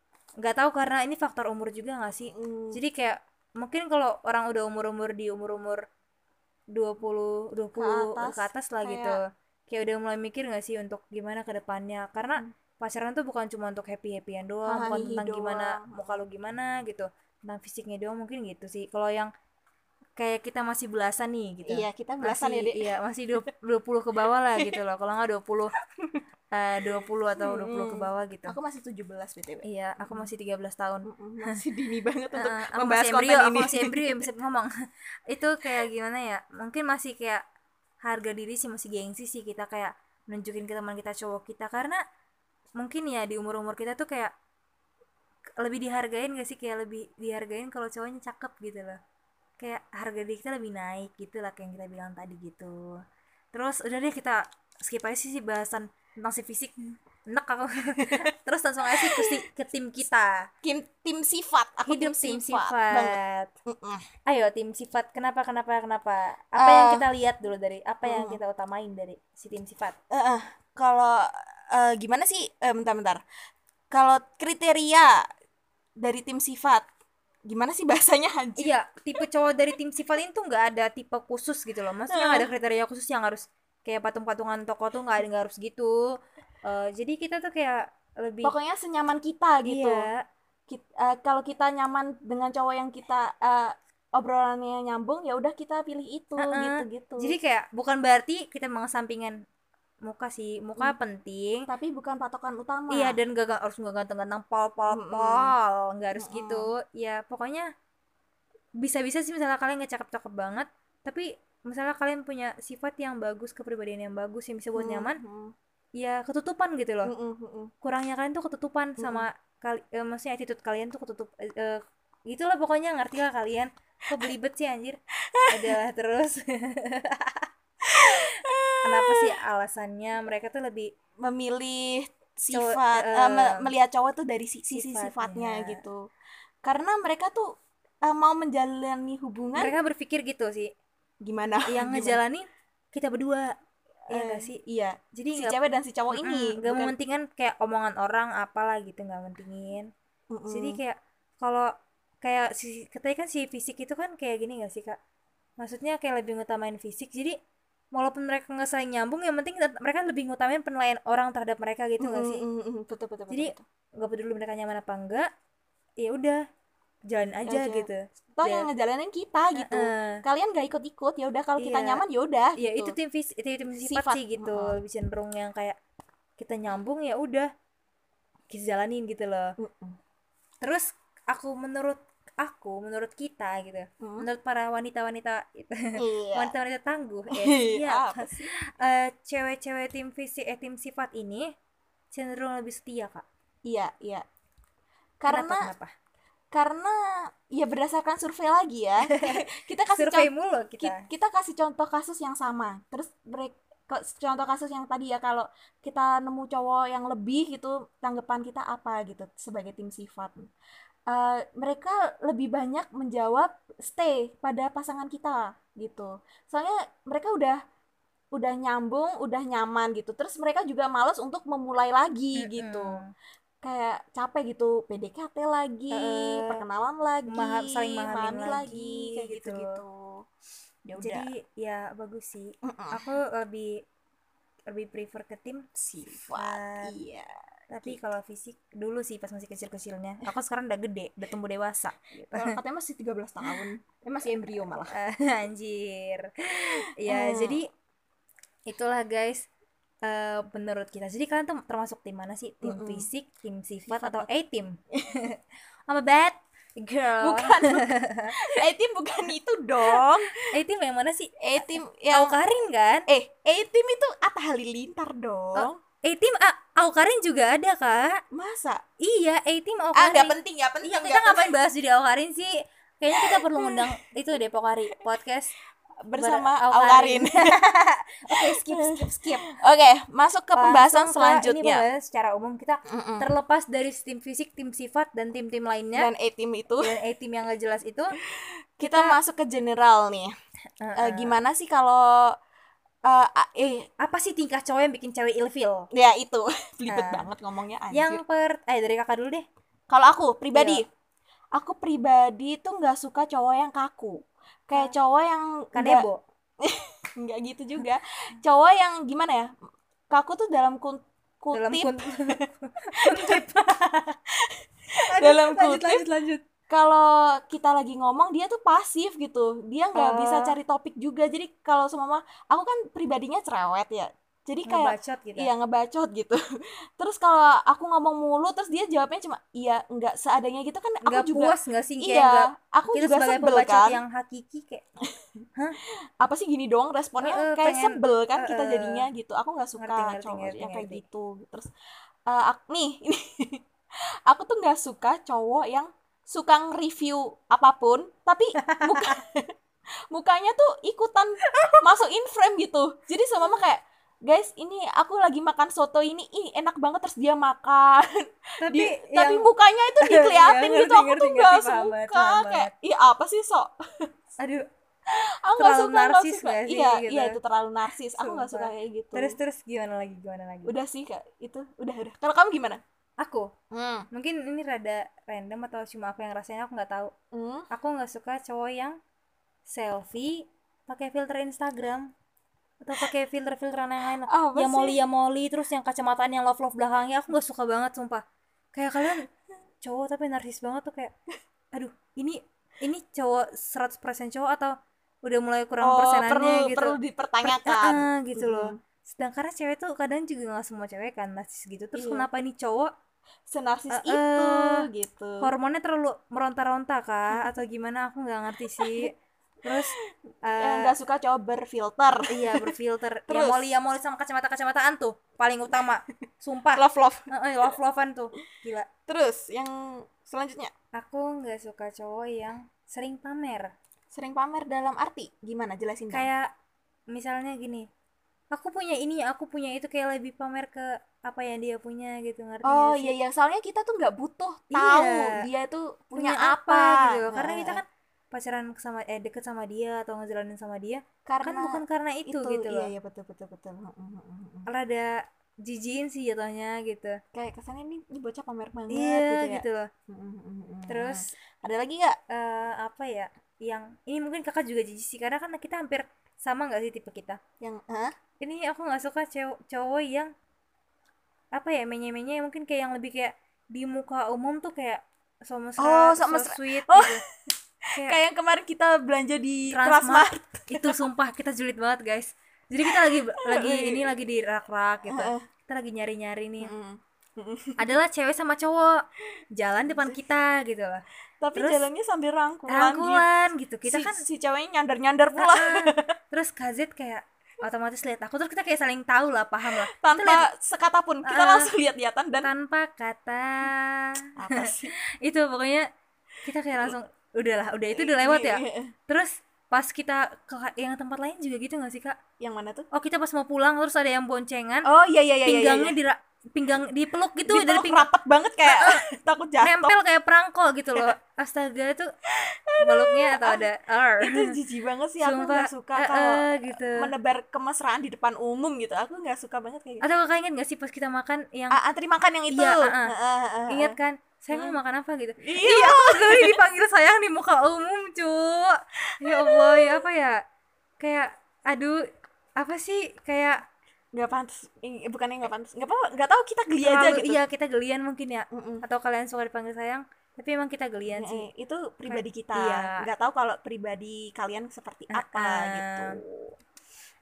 [SPEAKER 2] Nggak tahu karena ini faktor umur juga nggak sih?
[SPEAKER 1] Mm,
[SPEAKER 2] Jadi kayak mungkin kalau orang udah umur-umur di umur-umur 20 20 ke atas,
[SPEAKER 1] atas,
[SPEAKER 2] lah
[SPEAKER 1] kayak- Hmm.
[SPEAKER 2] gitu. Kayak udah mulai mikir gak sih untuk gimana ke depannya? Karena pacaran tuh bukan cuma untuk happy-happyan doang, bukan
[SPEAKER 1] Hahaha
[SPEAKER 2] tentang gimana
[SPEAKER 1] doang.
[SPEAKER 2] muka lu gimana gitu. Tentang fisiknya doang mungkin gitu sih. Kalau yang kayak kita masih belasan nih gitu.
[SPEAKER 1] iya kita belasan ya
[SPEAKER 2] masih,
[SPEAKER 1] dek
[SPEAKER 2] Iya, masih 20 ke bawah lah gitu loh. Kalau nggak 20 eh 20 atau 20 ke
[SPEAKER 1] Mm-mm.
[SPEAKER 2] bawah gitu.
[SPEAKER 1] aku masih 17 btw
[SPEAKER 2] Iya, aku masih 13 tahun.
[SPEAKER 1] Mm-mm, masih dini banget untuk
[SPEAKER 2] Eh, aku
[SPEAKER 1] membahas
[SPEAKER 2] masih
[SPEAKER 1] konten
[SPEAKER 2] embrio,
[SPEAKER 1] ini
[SPEAKER 2] Aku masih embrio yang bisa ngomong. itu kayak gimana ya? Mungkin masih kayak harga diri sih masih gengsi sih kita kayak nunjukin ke teman kita cowok kita karena mungkin ya di umur-umur kita tuh kayak lebih dihargain gak sih kayak lebih dihargain kalau cowoknya cakep gitu loh kayak harga diri kita lebih naik gitu lah kayak yang kita bilang tadi gitu terus udah deh kita skip aja sih, sih bahasan tentang si fisik
[SPEAKER 1] Hmm.
[SPEAKER 2] enak aku terus langsung aja sih ke, si- ke tim kita
[SPEAKER 1] tim tim sifat aku
[SPEAKER 2] hidup
[SPEAKER 1] tim
[SPEAKER 2] tim
[SPEAKER 1] sifat, banget
[SPEAKER 2] sifat
[SPEAKER 1] Mm-mm.
[SPEAKER 2] Ayo tim sifat, kenapa kenapa kenapa? Apa yang
[SPEAKER 1] Eh.
[SPEAKER 2] kita lihat dulu dari apa yang
[SPEAKER 1] Hmm.
[SPEAKER 2] kita utamain dari si tim sifat?
[SPEAKER 1] Eh, eh, kalau eh, gimana sih eh, bentar-bentar kalau kriteria dari tim sifat gimana sih bahasanya anjir
[SPEAKER 2] Iya, tipe cowok dari tim sifat itu nggak ada tipe khusus gitu loh. Maksudnya nggak ada kriteria khusus yang harus kayak patung-patungan toko tuh nggak ada nggak harus gitu. Eh, jadi kita tuh kayak lebih
[SPEAKER 1] pokoknya senyaman kita gitu
[SPEAKER 2] Iya,
[SPEAKER 1] Kit- eh, kalau kita nyaman dengan cowok yang kita eh, obrolannya nyambung ya udah kita pilih itu
[SPEAKER 2] Heeh.
[SPEAKER 1] gitu-gitu
[SPEAKER 2] Jadi kayak bukan berarti kita mengesampingkan muka sih, muka
[SPEAKER 1] Hmm.
[SPEAKER 2] penting.
[SPEAKER 1] tapi bukan patokan utama
[SPEAKER 2] Iya dan gak, gak- harus gak ganteng-ganteng pol pol
[SPEAKER 1] Mm-mm.
[SPEAKER 2] pol nggak harus
[SPEAKER 1] Mm-mm.
[SPEAKER 2] gitu ya pokoknya bisa-bisa sih misalnya kalian gak cakep-cakep banget tapi misalnya kalian punya sifat yang bagus kepribadian yang bagus yang bisa
[SPEAKER 1] Hmm, Mm.
[SPEAKER 2] buat nyaman
[SPEAKER 1] Mm-mm.
[SPEAKER 2] ya ketutupan gitu loh
[SPEAKER 1] Mm-mm, mm-mm.
[SPEAKER 2] kurangnya kalian tuh ketutupan
[SPEAKER 1] Mm. Mm-mm.
[SPEAKER 2] sama kali eh, maksudnya attitude kalian tuh ketutup eh, eh, gitulah pokoknya ngerti lah kalian kok belibet sih anjir adalah terus kenapa sih alasannya mereka tuh lebih
[SPEAKER 1] memilih
[SPEAKER 2] Cowok,
[SPEAKER 1] sifat
[SPEAKER 2] eh,
[SPEAKER 1] eh, me- melihat cowok tuh dari si- sisi
[SPEAKER 2] sifatnya.
[SPEAKER 1] sifatnya gitu karena mereka tuh eh, mau menjalani hubungan
[SPEAKER 2] mereka berpikir gitu sih
[SPEAKER 1] gimana Gimana?
[SPEAKER 2] yang Iya, ngejalani kita berdua ya
[SPEAKER 1] Eh,
[SPEAKER 2] gak sih
[SPEAKER 1] iya
[SPEAKER 2] jadi
[SPEAKER 1] si
[SPEAKER 2] nggak
[SPEAKER 1] cewek dan si cowok ini gitu kan? Mm,
[SPEAKER 2] Mm-mm, nggak
[SPEAKER 1] bukan-
[SPEAKER 2] mementingkan kayak omongan orang apalah gitu nggak mentingin
[SPEAKER 1] Mm-mm.
[SPEAKER 2] jadi kayak kalau kayak si katanya kan si fisik itu kan kayak gini gak sih kak maksudnya kayak lebih ngutamain fisik jadi walaupun mereka nggak saling nyambung yang penting tet- mereka lebih ngutamain penilaian orang terhadap mereka gitu gak
[SPEAKER 1] Mm-mm,
[SPEAKER 2] sih
[SPEAKER 1] mm-mm, mm, betul betul
[SPEAKER 2] Jadi,
[SPEAKER 1] betul,
[SPEAKER 2] nggak peduli mereka nyaman apa enggak ya udah jalan
[SPEAKER 1] Aja.
[SPEAKER 2] aja gitu
[SPEAKER 1] betul. toh
[SPEAKER 2] dan-
[SPEAKER 1] yang ngejalanin kita gitu
[SPEAKER 2] Heeh.
[SPEAKER 1] kalian gak ikut-ikut ya udah kalau kita
[SPEAKER 2] Iya.
[SPEAKER 1] nyaman ya udah
[SPEAKER 2] ya itu
[SPEAKER 1] gitu
[SPEAKER 2] tim fis itu tim sifat,
[SPEAKER 1] Sifat,
[SPEAKER 2] sih gitu
[SPEAKER 1] mm-mm.
[SPEAKER 2] lebih cenderung yang kayak kita nyambung ya udah kita jalanin gitu loh
[SPEAKER 1] Mm-mm.
[SPEAKER 2] terus aku menurut aku menurut kita gitu
[SPEAKER 1] Mm.
[SPEAKER 2] menurut para wanita-wanita itu
[SPEAKER 1] iya
[SPEAKER 2] wanita-wanita tangguh ya siap
[SPEAKER 1] apa sih
[SPEAKER 2] Eh, cewek-cewek tim visi eh tim sifat ini cenderung lebih setia kak
[SPEAKER 1] iya iya
[SPEAKER 2] kenapa
[SPEAKER 1] karena
[SPEAKER 2] kenapa
[SPEAKER 1] karena ya berdasarkan survei lagi ya kita kasih
[SPEAKER 2] survei
[SPEAKER 1] contoh
[SPEAKER 2] mulu
[SPEAKER 1] ki-
[SPEAKER 2] kita
[SPEAKER 1] kita kasih contoh kasus yang sama terus break contoh kasus yang tadi ya kalau kita nemu cowok yang lebih gitu tanggapan kita apa gitu sebagai tim sifat Eh, mereka lebih banyak menjawab stay pada pasangan kita gitu soalnya mereka udah udah nyambung udah nyaman gitu terus mereka juga males untuk memulai lagi gitu
[SPEAKER 2] Mm-mm.
[SPEAKER 1] kayak capek gitu PDKT lagi
[SPEAKER 2] Eh,
[SPEAKER 1] perkenalan lagi
[SPEAKER 2] maha- saling mahamin
[SPEAKER 1] memahami
[SPEAKER 2] lagi,
[SPEAKER 1] lagi kayak
[SPEAKER 2] gitu.
[SPEAKER 1] gitu gitu ya udah Ah.
[SPEAKER 2] jadi ya bagus sih
[SPEAKER 1] Mm-mm.
[SPEAKER 2] aku lebih lebih prefer ke tim
[SPEAKER 1] sifat
[SPEAKER 2] sifat.
[SPEAKER 1] iya
[SPEAKER 2] tapi kalau fisik dulu sih pas masih kecil-kecilnya aku sekarang udah gede udah tumbuh dewasa gitu.
[SPEAKER 1] Kalau katanya masih 13 tahun. Eh, masih embrio malah.
[SPEAKER 2] anjir ya
[SPEAKER 1] Hmm.
[SPEAKER 2] jadi itulah guys eh, menurut kita jadi kalian tuh termasuk tim mana sih tim
[SPEAKER 1] Mm-mm.
[SPEAKER 2] fisik tim
[SPEAKER 1] Sifat
[SPEAKER 2] sifat atau A team I'm a bad girl
[SPEAKER 1] Bukan. bukan. A-team bukan itu dong.
[SPEAKER 2] A team yang mana sih
[SPEAKER 1] A-team
[SPEAKER 2] Au
[SPEAKER 1] yang
[SPEAKER 2] Karin kan
[SPEAKER 1] eh A-team itu Atta Halilintar dong.
[SPEAKER 2] A team ah, Au Karin juga ada kak
[SPEAKER 1] Masa?
[SPEAKER 2] iya A team Au
[SPEAKER 1] Ah, nggak
[SPEAKER 2] Karin
[SPEAKER 1] penting ya, penting
[SPEAKER 2] Iya, kita
[SPEAKER 1] nggak
[SPEAKER 2] ngapain bahas jadi Au Karin sih kayaknya kita perlu ngundang itu deh Pokari podcast
[SPEAKER 1] penting. bersama
[SPEAKER 2] Ber-
[SPEAKER 1] Aukarin.
[SPEAKER 2] oke skip skip skip
[SPEAKER 1] Oke, masuk ke pembahasan
[SPEAKER 2] Langsung ke ini
[SPEAKER 1] selanjutnya. Mm.
[SPEAKER 2] pembahasan secara umum kita
[SPEAKER 1] Mm-mm.
[SPEAKER 2] terlepas dari tim fisik, tim sifat dan tim-tim lainnya
[SPEAKER 1] Dan A-team itu
[SPEAKER 2] dan eh, tim yang gak jelas itu
[SPEAKER 1] kita masuk ke general nih.
[SPEAKER 2] eh,
[SPEAKER 1] Eh, gimana sih kalau eh, a- eh
[SPEAKER 2] apa sih tingkah cowok yang bikin cewek ilfil?
[SPEAKER 1] ya itu belibet
[SPEAKER 2] Eh.
[SPEAKER 1] banget ngomongnya anjir. Iya.
[SPEAKER 2] Yang per eh dari kakak dulu deh.
[SPEAKER 1] Kalau aku pribadi, aku pribadi tuh nggak suka cowok yang kaku. Kayak cowok yang nggak
[SPEAKER 2] Kanebo.
[SPEAKER 1] nggak gitu juga. Cowok yang gimana ya? Kaku tuh dalam kun- kutip dalam,
[SPEAKER 2] Dalam kun- kutip. Aduh, lanjut,
[SPEAKER 1] kutip
[SPEAKER 2] lanjut lanjut.
[SPEAKER 1] kalau kita lagi ngomong dia tuh pasif gitu. Dia nggak
[SPEAKER 2] Oh.
[SPEAKER 1] bisa cari topik juga. Jadi kalau semama aku kan pribadinya cerewet ya. Jadi kayak
[SPEAKER 2] Ngebacot gitu.
[SPEAKER 1] Iya ngebacot gitu. Terus kalau aku ngomong mulu terus dia jawabnya cuma iya nggak seadanya gitu kan aku
[SPEAKER 2] Nggak
[SPEAKER 1] juga
[SPEAKER 2] puas nggak sih kayak
[SPEAKER 1] iya,
[SPEAKER 2] nggak-
[SPEAKER 1] aku
[SPEAKER 2] kita
[SPEAKER 1] juga
[SPEAKER 2] sebagai
[SPEAKER 1] sebel
[SPEAKER 2] pembacot
[SPEAKER 1] kan.
[SPEAKER 2] yang hakiki kayak
[SPEAKER 1] Apa sih gini doang responnya
[SPEAKER 2] Eh, eh,
[SPEAKER 1] kayak
[SPEAKER 2] pengen-
[SPEAKER 1] sebel kan kita
[SPEAKER 2] eh, eh.
[SPEAKER 1] jadinya gitu. Aku nggak suka
[SPEAKER 2] Ngerti, ngerti,
[SPEAKER 1] cowok
[SPEAKER 2] ngerti,
[SPEAKER 1] yang kayak
[SPEAKER 2] ngerti.
[SPEAKER 1] gitu. Terus eh, ak- nih ini aku tuh nggak suka cowok yang suka nge-review apapun tapi muka mukanya tuh ikutan masukin frame gitu. Jadi sama mama kayak Guys, ini aku lagi makan soto ini, ih enak banget terus dia makan.
[SPEAKER 2] tapi
[SPEAKER 1] Di-
[SPEAKER 2] yang
[SPEAKER 1] tapi mukanya itu
[SPEAKER 2] Iya,
[SPEAKER 1] dikeliatin
[SPEAKER 2] ngerti,
[SPEAKER 1] gitu aku
[SPEAKER 2] ngerti,
[SPEAKER 1] tuh
[SPEAKER 2] ngerti,
[SPEAKER 1] nggak
[SPEAKER 2] paham
[SPEAKER 1] suka
[SPEAKER 2] banget, paham
[SPEAKER 1] kayak iya apa sih sok
[SPEAKER 2] aduh
[SPEAKER 1] aku Oh, nggak
[SPEAKER 2] Terlalu
[SPEAKER 1] suka nggak
[SPEAKER 2] narsis
[SPEAKER 1] suka
[SPEAKER 2] nggak sih,
[SPEAKER 1] iya
[SPEAKER 2] gitu?
[SPEAKER 1] iya itu terlalu narsis aku nggak suka
[SPEAKER 2] Sumpah.
[SPEAKER 1] kayak gitu
[SPEAKER 2] terus terus gimana lagi gimana lagi?
[SPEAKER 1] udah sih kak itu udah udah kalau kamu gimana
[SPEAKER 2] Aku
[SPEAKER 1] hmm.
[SPEAKER 2] mungkin ini rada random atau cuma aku yang rasanya aku nggak tahu.
[SPEAKER 1] Hmm.
[SPEAKER 2] aku nggak suka cowok yang selfie pakai filter Instagram atau pakai filter filteran yang lain
[SPEAKER 1] Ah, Apa
[SPEAKER 2] ya
[SPEAKER 1] sih?
[SPEAKER 2] moli ya moli terus yang kacamataan yang love love belakangnya aku nggak suka banget sumpah kayak kalian cowok tapi narsis banget tuh kayak aduh ini ini cowok 100% cowok atau udah mulai kurang
[SPEAKER 1] oh perlu
[SPEAKER 2] persenannya gitu
[SPEAKER 1] perlu dipertanyakan Hmm.
[SPEAKER 2] Ah, ah, gitu loh
[SPEAKER 1] Mm-mm.
[SPEAKER 2] sedangkan cewek tuh kadang juga nggak semua cewek kan narsis gitu terus
[SPEAKER 1] Iya.
[SPEAKER 2] kenapa ini cowok
[SPEAKER 1] senarsis
[SPEAKER 2] Eh,
[SPEAKER 1] itu
[SPEAKER 2] eh,
[SPEAKER 1] gitu
[SPEAKER 2] hormonnya terlalu meronta-ronta kah atau gimana aku nggak ngerti sih terus
[SPEAKER 1] Hmm. Ya,
[SPEAKER 2] eh,
[SPEAKER 1] nggak suka coba berfilter
[SPEAKER 2] iya berfilter ya
[SPEAKER 1] Terus?
[SPEAKER 2] moli ya moli sama kacamata kacamataan tuh paling utama sumpah
[SPEAKER 1] love love
[SPEAKER 2] love lovean tuh gila
[SPEAKER 1] terus yang selanjutnya
[SPEAKER 2] aku nggak suka cowok yang sering pamer
[SPEAKER 1] sering pamer dalam arti gimana jelasin Bang?
[SPEAKER 2] kayak misalnya gini aku punya ini aku punya itu kayak lebih pamer ke apa yang dia punya gitu ngerti nggak
[SPEAKER 1] Oh
[SPEAKER 2] sih?
[SPEAKER 1] iya iya soalnya kita tuh nggak butuh
[SPEAKER 2] Iya.
[SPEAKER 1] tahu dia tuh punya, apa,
[SPEAKER 2] gitu loh. karena
[SPEAKER 1] Nah,
[SPEAKER 2] kita kan pacaran sama eh deket sama dia atau ngejalanin sama dia
[SPEAKER 1] karena
[SPEAKER 2] kan bukan karena itu, gitu
[SPEAKER 1] iya
[SPEAKER 2] loh
[SPEAKER 1] iya betul betul betul Mm, mm, mm, mm.
[SPEAKER 2] rada jijiin sih jatuhnya gitu
[SPEAKER 1] kayak kesannya ini, ini bocah pamer banget
[SPEAKER 2] iya
[SPEAKER 1] gitu ya
[SPEAKER 2] gitu loh
[SPEAKER 1] Mm, mm, mm, mm, mm.
[SPEAKER 2] terus
[SPEAKER 1] ada lagi nggak
[SPEAKER 2] eh, apa ya yang ini mungkin kakak juga jijik sih karena kan kita hampir sama nggak sih tipe kita
[SPEAKER 1] yang Hah?
[SPEAKER 2] ini aku nggak suka cowok cowok yang apa ya menye-menye mungkin kayak yang lebih kayak di muka umum tuh kayak so mesra,
[SPEAKER 1] Oh,
[SPEAKER 2] so
[SPEAKER 1] so mesra.
[SPEAKER 2] sweet
[SPEAKER 1] Oh.
[SPEAKER 2] gitu. Kayak-
[SPEAKER 1] kayak yang kemarin kita belanja di
[SPEAKER 2] Transmart.
[SPEAKER 1] Transmart gitu.
[SPEAKER 2] itu sumpah kita julid banget guys jadi kita lagi lagi ini lagi di rak-rak gitu Iya.
[SPEAKER 1] Heeh.
[SPEAKER 2] kita lagi nyari-nyari nih
[SPEAKER 1] Mm.
[SPEAKER 2] adalah cewek sama cowok jalan depan kita gitu loh
[SPEAKER 1] tapi
[SPEAKER 2] Terus-
[SPEAKER 1] jalannya sambil rangkulan, gitu
[SPEAKER 2] rangkulan gitu kita
[SPEAKER 1] si,
[SPEAKER 2] kan
[SPEAKER 1] si ceweknya nyandar nyandar pula
[SPEAKER 2] "Ah." terus KZ kayak otomatis lihat aku terus kita kayak saling tahu lah paham lah
[SPEAKER 1] tanpa sekata pun kita
[SPEAKER 2] Ah.
[SPEAKER 1] langsung lihat lihatan dan
[SPEAKER 2] tanpa kata
[SPEAKER 1] apa sih
[SPEAKER 2] itu pokoknya kita kayak langsung udahlah udah itu udah lewat
[SPEAKER 1] Iya,
[SPEAKER 2] ya terus pas kita ke yang tempat lain juga gitu nggak sih kak
[SPEAKER 1] yang mana tuh
[SPEAKER 2] oh kita pas mau pulang terus ada yang boncengan
[SPEAKER 1] oh iya iya iya iya,
[SPEAKER 2] pinggangnya
[SPEAKER 1] iya.
[SPEAKER 2] di pinggang dipeluk gitu
[SPEAKER 1] Dipeluk
[SPEAKER 2] dari pinggang Ah,
[SPEAKER 1] rapet banget kayak takut jatuh Iya.
[SPEAKER 2] nempel kayak perangko gitu loh astaga itu peluknya atau ada R
[SPEAKER 1] itu jijik banget sih aku nggak suka
[SPEAKER 2] eh,
[SPEAKER 1] kalau
[SPEAKER 2] eh, gitu
[SPEAKER 1] menebar kemesraan di depan umum gitu aku nggak suka banget kayak gitu
[SPEAKER 2] atau kakak inget gak sih pas kita makan yang
[SPEAKER 1] ah, antri makan yang itu
[SPEAKER 2] Iya, ah, ah.
[SPEAKER 1] Heeh, heeh,
[SPEAKER 2] ingat
[SPEAKER 1] heeh.
[SPEAKER 2] kan saya mau makan apa gitu
[SPEAKER 1] iya
[SPEAKER 2] gue dipanggil sayang di muka umum cuk ya allah ya apa ya kayak aduh apa sih kayak
[SPEAKER 1] nggak pantas Ih, bukannya nggak pantas nggak apa nggak tahu kita geli aja
[SPEAKER 2] Terlalu-
[SPEAKER 1] gitu
[SPEAKER 2] iya kita gelian mungkin ya
[SPEAKER 1] Mm-mm.
[SPEAKER 2] atau kalian suka dipanggil sayang tapi emang kita gelian Iya sih
[SPEAKER 1] Eh, itu pribadi kita
[SPEAKER 2] Iya.
[SPEAKER 1] nggak tahu kalau pribadi kalian seperti apa
[SPEAKER 2] Ah,
[SPEAKER 1] gitu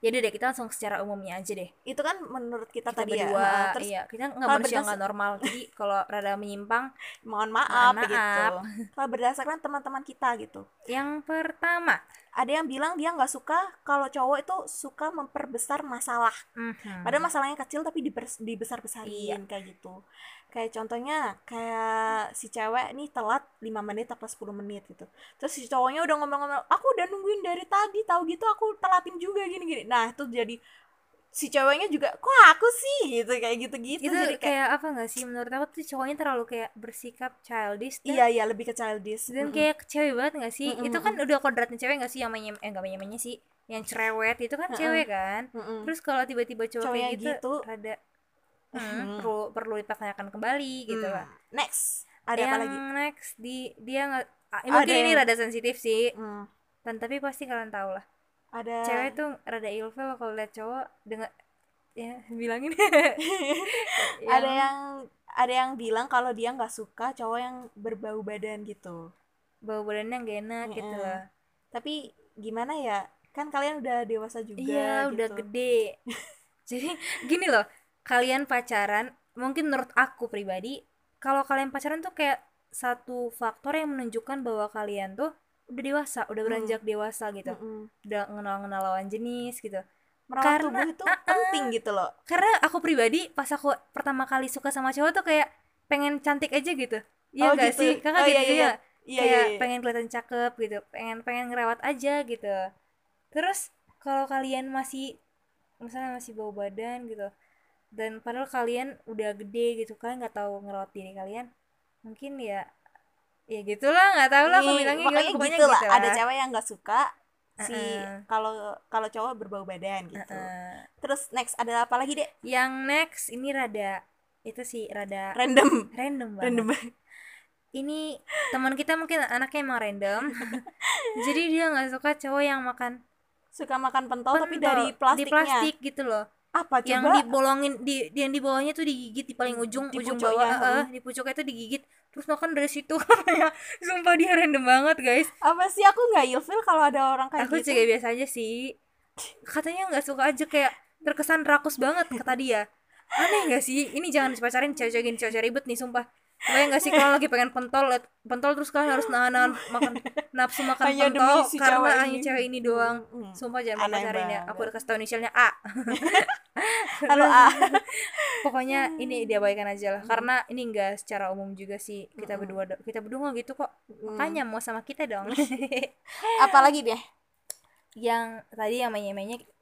[SPEAKER 2] jadi Ya deh kita langsung secara umumnya aja deh
[SPEAKER 1] itu kan menurut kita,
[SPEAKER 2] kita
[SPEAKER 1] tadi
[SPEAKER 2] berdua
[SPEAKER 1] ya terus
[SPEAKER 2] iya kita nggak
[SPEAKER 1] kalau
[SPEAKER 2] manusia
[SPEAKER 1] berdua-
[SPEAKER 2] nggak normal jadi kalau rada menyimpang
[SPEAKER 1] mohon maaf
[SPEAKER 2] Mohon
[SPEAKER 1] gitu
[SPEAKER 2] maaf.
[SPEAKER 1] kalau berdasarkan teman-teman kita gitu
[SPEAKER 2] yang pertama
[SPEAKER 1] ada yang bilang dia nggak suka kalau cowok itu suka memperbesar masalah
[SPEAKER 2] mhm.
[SPEAKER 1] Padahal masalahnya kecil tapi dibers- dibesar-besarin
[SPEAKER 2] Iya.
[SPEAKER 1] kayak gitu. Kayak contohnya kayak si cewek nih telat 5 menit apa 10 menit gitu. Terus si cowoknya udah ngomong-ngomong, "Aku udah nungguin dari tadi, tahu gitu aku telatin juga gini-gini." Nah, itu jadi si ceweknya juga, "Kok aku sih?" gitu kayak gitu-gitu.
[SPEAKER 2] itu
[SPEAKER 1] jadi
[SPEAKER 2] kayak,
[SPEAKER 1] kayak
[SPEAKER 2] apa nggak sih menurut aku tuh cowoknya terlalu kayak bersikap childish dan,
[SPEAKER 1] iya iya lebih ke childish.
[SPEAKER 2] dan
[SPEAKER 1] Mm-mm.
[SPEAKER 2] kayak cewek banget nggak sih
[SPEAKER 1] Mm-mm,
[SPEAKER 2] itu kan udah kodratnya cewek nggak sih yang menyem eh nggak menyemennya sih yang cerewet itu kan
[SPEAKER 1] Mm-mm.
[SPEAKER 2] cewek kan
[SPEAKER 1] Mm-mm.
[SPEAKER 2] terus kalau tiba-tiba cowok
[SPEAKER 1] Cowoknya
[SPEAKER 2] kayak gitu,
[SPEAKER 1] gitu.
[SPEAKER 2] rada hmm,
[SPEAKER 1] Hmm.
[SPEAKER 2] perlu perlu dipertanyakan kembali gitu
[SPEAKER 1] Hmm.
[SPEAKER 2] lah
[SPEAKER 1] Next, ada
[SPEAKER 2] yang
[SPEAKER 1] apa lagi?
[SPEAKER 2] next di dia nggak ah,
[SPEAKER 1] Ada
[SPEAKER 2] mungkin ini
[SPEAKER 1] yang-
[SPEAKER 2] rada sensitif sih
[SPEAKER 1] Hmm,
[SPEAKER 2] dan tapi pasti kalian tahu lah
[SPEAKER 1] Ada
[SPEAKER 2] cewek tuh rada ilfil kalau lihat cowok dengan ya bilangin
[SPEAKER 1] ada yang ada yang bilang kalau dia nggak suka cowok yang berbau badan gitu.
[SPEAKER 2] bau badannya nggak enak gitu
[SPEAKER 1] Mm-mm.
[SPEAKER 2] lah
[SPEAKER 1] tapi gimana ya kan kalian udah dewasa juga
[SPEAKER 2] iya
[SPEAKER 1] gitu.
[SPEAKER 2] udah gede jadi gini loh kalian pacaran mungkin menurut aku pribadi kalau kalian pacaran tuh kayak satu faktor yang menunjukkan bahwa kalian tuh udah dewasa udah
[SPEAKER 1] Hmm.
[SPEAKER 2] beranjak dewasa gitu
[SPEAKER 1] Mm-mm.
[SPEAKER 2] udah kenal kenal lawan jenis gitu
[SPEAKER 1] merawat tubuh
[SPEAKER 2] Karena-
[SPEAKER 1] itu
[SPEAKER 2] ah, ah.
[SPEAKER 1] penting gitu loh
[SPEAKER 2] karena aku pribadi pas aku pertama kali suka sama cowok tuh kayak pengen cantik aja gitu
[SPEAKER 1] Oh,
[SPEAKER 2] Iya gak
[SPEAKER 1] gitu.
[SPEAKER 2] sih?
[SPEAKER 1] Oh,
[SPEAKER 2] Kakak
[SPEAKER 1] iya,
[SPEAKER 2] gitu
[SPEAKER 1] iya,
[SPEAKER 2] ya?
[SPEAKER 1] iya
[SPEAKER 2] kayak
[SPEAKER 1] iya, iya.
[SPEAKER 2] pengen kelihatan cakep gitu pengen pengen ngerawat aja gitu terus kalau kalian masih misalnya masih bau badan gitu dan padahal kalian udah gede gitu kalian nggak tahu ngerawat diri kalian mungkin ya ya gitulah nggak tahu lah aku
[SPEAKER 1] Ih,
[SPEAKER 2] bilangnya
[SPEAKER 1] pokoknya
[SPEAKER 2] gimana,
[SPEAKER 1] gitu,
[SPEAKER 2] pokoknya
[SPEAKER 1] lah
[SPEAKER 2] gitu
[SPEAKER 1] ada
[SPEAKER 2] lah.
[SPEAKER 1] cewek yang nggak suka si
[SPEAKER 2] Heeh.
[SPEAKER 1] kalau kalau cowok berbau badan gitu
[SPEAKER 2] Heeh.
[SPEAKER 1] terus next ada apa lagi dek
[SPEAKER 2] yang next ini rada itu sih rada
[SPEAKER 1] random
[SPEAKER 2] random banget
[SPEAKER 1] random banget.
[SPEAKER 2] ini teman kita mungkin anaknya emang random jadi dia nggak suka cowok yang makan
[SPEAKER 1] suka makan pentol, Oh, tapi
[SPEAKER 2] pentol
[SPEAKER 1] dari plastiknya
[SPEAKER 2] di plastik gitu loh
[SPEAKER 1] apa coba
[SPEAKER 2] yang dibolongin di di- yang di bawahnya tuh digigit di paling ujung
[SPEAKER 1] Di ya,
[SPEAKER 2] ujung
[SPEAKER 1] pucuknya,
[SPEAKER 2] bawah eh, eh, di pucuknya tuh digigit terus makan dari situ Kayak, sumpah dia random banget guys
[SPEAKER 1] apa sih aku nggak ilfil kalau ada orang kayak
[SPEAKER 2] aku
[SPEAKER 1] gitu
[SPEAKER 2] juga biasa aja sih katanya nggak suka aja kayak terkesan rakus banget kata dia aneh nggak sih ini jangan dipacarin cewek-cewek gini cewek ribet nih sumpah Kayak nggak sih kalian lagi pengen pentol liat pentol terus kalian harus nahan-nahan makan nafsu makan
[SPEAKER 1] Hanya demi
[SPEAKER 2] pentol
[SPEAKER 1] si
[SPEAKER 2] karena
[SPEAKER 1] cewek
[SPEAKER 2] hanya
[SPEAKER 1] ini.
[SPEAKER 2] cewek ini doang
[SPEAKER 1] Mm-mm.
[SPEAKER 2] sumpah jangan
[SPEAKER 1] Aneh
[SPEAKER 2] pacarin ya aku
[SPEAKER 1] banget.
[SPEAKER 2] udah kasih tau inisialnya A
[SPEAKER 1] halo ah
[SPEAKER 2] pokoknya
[SPEAKER 1] Hmm.
[SPEAKER 2] ini diabaikan aja lah karena ini enggak secara umum juga sih kita
[SPEAKER 1] Hmm.
[SPEAKER 2] berdua do- kita berdua nggak gitu kok makanya mau sama kita dong
[SPEAKER 1] apalagi deh
[SPEAKER 2] yang tadi yang mainnya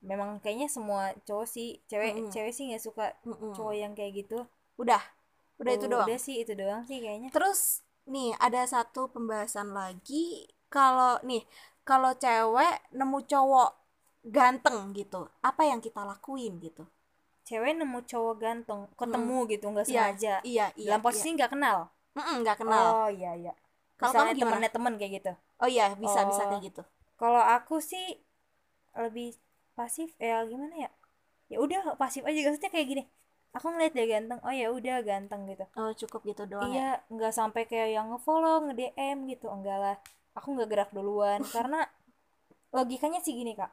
[SPEAKER 2] memang kayaknya semua cowok sih cewek
[SPEAKER 1] Mm-mm.
[SPEAKER 2] cewek sih nggak suka
[SPEAKER 1] Mm-mm.
[SPEAKER 2] cowok yang kayak gitu
[SPEAKER 1] udah Hmm. udah itu
[SPEAKER 2] Oh,
[SPEAKER 1] doang
[SPEAKER 2] udah sih itu doang sih kayaknya
[SPEAKER 1] Terus nih ada satu pembahasan lagi kalau nih kalau cewek nemu cowok ganteng gitu, apa yang kita lakuin gitu?
[SPEAKER 2] cewek nemu cowok ganteng ketemu gitu nggak
[SPEAKER 1] Hmm. Iya,
[SPEAKER 2] sengaja
[SPEAKER 1] Iya, iya.
[SPEAKER 2] dalam posisi nggak kenal
[SPEAKER 1] iya. Mm-mm, nggak kenal.
[SPEAKER 2] oh iya iya
[SPEAKER 1] Kalau
[SPEAKER 2] misalnya
[SPEAKER 1] kamu gimana?
[SPEAKER 2] temennya temen kayak gitu
[SPEAKER 1] Oh iya, bisa bisa
[SPEAKER 2] Oh.
[SPEAKER 1] kayak gitu.
[SPEAKER 2] kalau aku sih lebih pasif ya gimana ya ya udah pasif aja maksudnya kayak gini aku ngeliat dia ganteng oh ya udah ganteng gitu
[SPEAKER 1] Oh, cukup gitu doang ya.
[SPEAKER 2] iya nggak sampai kayak yang ngefollow nge DM gitu enggak lah aku nggak gerak duluan karena logikanya sih gini kak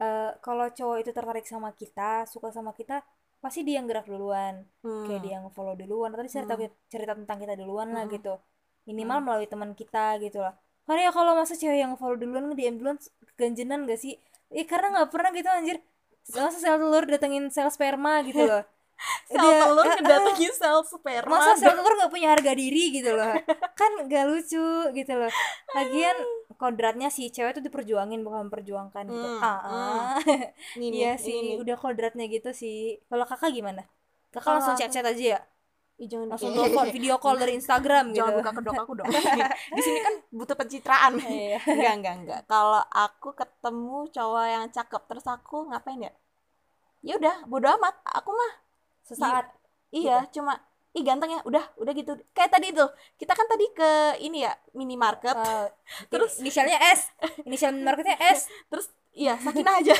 [SPEAKER 2] Eh kalau cowok itu tertarik sama kita suka sama kita pasti dia yang gerak duluan
[SPEAKER 1] Hmm.
[SPEAKER 2] kayak dia yang follow duluan tadi cerita
[SPEAKER 1] Hmm.
[SPEAKER 2] cerita tentang kita duluan lah
[SPEAKER 1] Mm-mm.
[SPEAKER 2] gitu minimal melalui teman kita gitu lah karena ya kalau masa cewek yang follow duluan nge-DM duluan ganjenan gak sih eh karena nggak pernah gitu anjir masa sel telur datengin sel sperma gitu loh
[SPEAKER 1] Sel
[SPEAKER 2] Dia-
[SPEAKER 1] telur
[SPEAKER 2] eh, eh,
[SPEAKER 1] ngedatengin sel sperma.
[SPEAKER 2] masa
[SPEAKER 1] dong.
[SPEAKER 2] sel telur nggak punya harga diri gitu loh kan gak lucu gitu loh lagian kodratnya si cewek itu diperjuangin bukan memperjuangkan gitu
[SPEAKER 1] Hmm,
[SPEAKER 2] ah ah.
[SPEAKER 1] Nih, nih,
[SPEAKER 2] iya
[SPEAKER 1] ini
[SPEAKER 2] sih
[SPEAKER 1] nih.
[SPEAKER 2] udah kodratnya gitu sih kalau kakak gimana kakak
[SPEAKER 1] Kalau
[SPEAKER 2] langsung
[SPEAKER 1] aku-
[SPEAKER 2] chat chat aja ya
[SPEAKER 1] Ih, jangan gitu.
[SPEAKER 2] langsung telepon video call dari Instagram gitu
[SPEAKER 1] Jangan buka kedok aku dong. Di sini kan butuh pencitraan.
[SPEAKER 2] Iya.
[SPEAKER 1] Enggak, enggak, enggak. Kalau aku ketemu cowok yang cakep terus aku ngapain ya? Ya udah, bodo amat. Aku mah
[SPEAKER 2] sesaat
[SPEAKER 1] iya, cuma ih ganteng ya udah udah gitu kayak tadi tuh kita kan tadi ke ini ya minimarket
[SPEAKER 2] Eh,
[SPEAKER 1] Terus-
[SPEAKER 2] inisialnya S inisial marketnya S
[SPEAKER 1] terus iya sakinah aja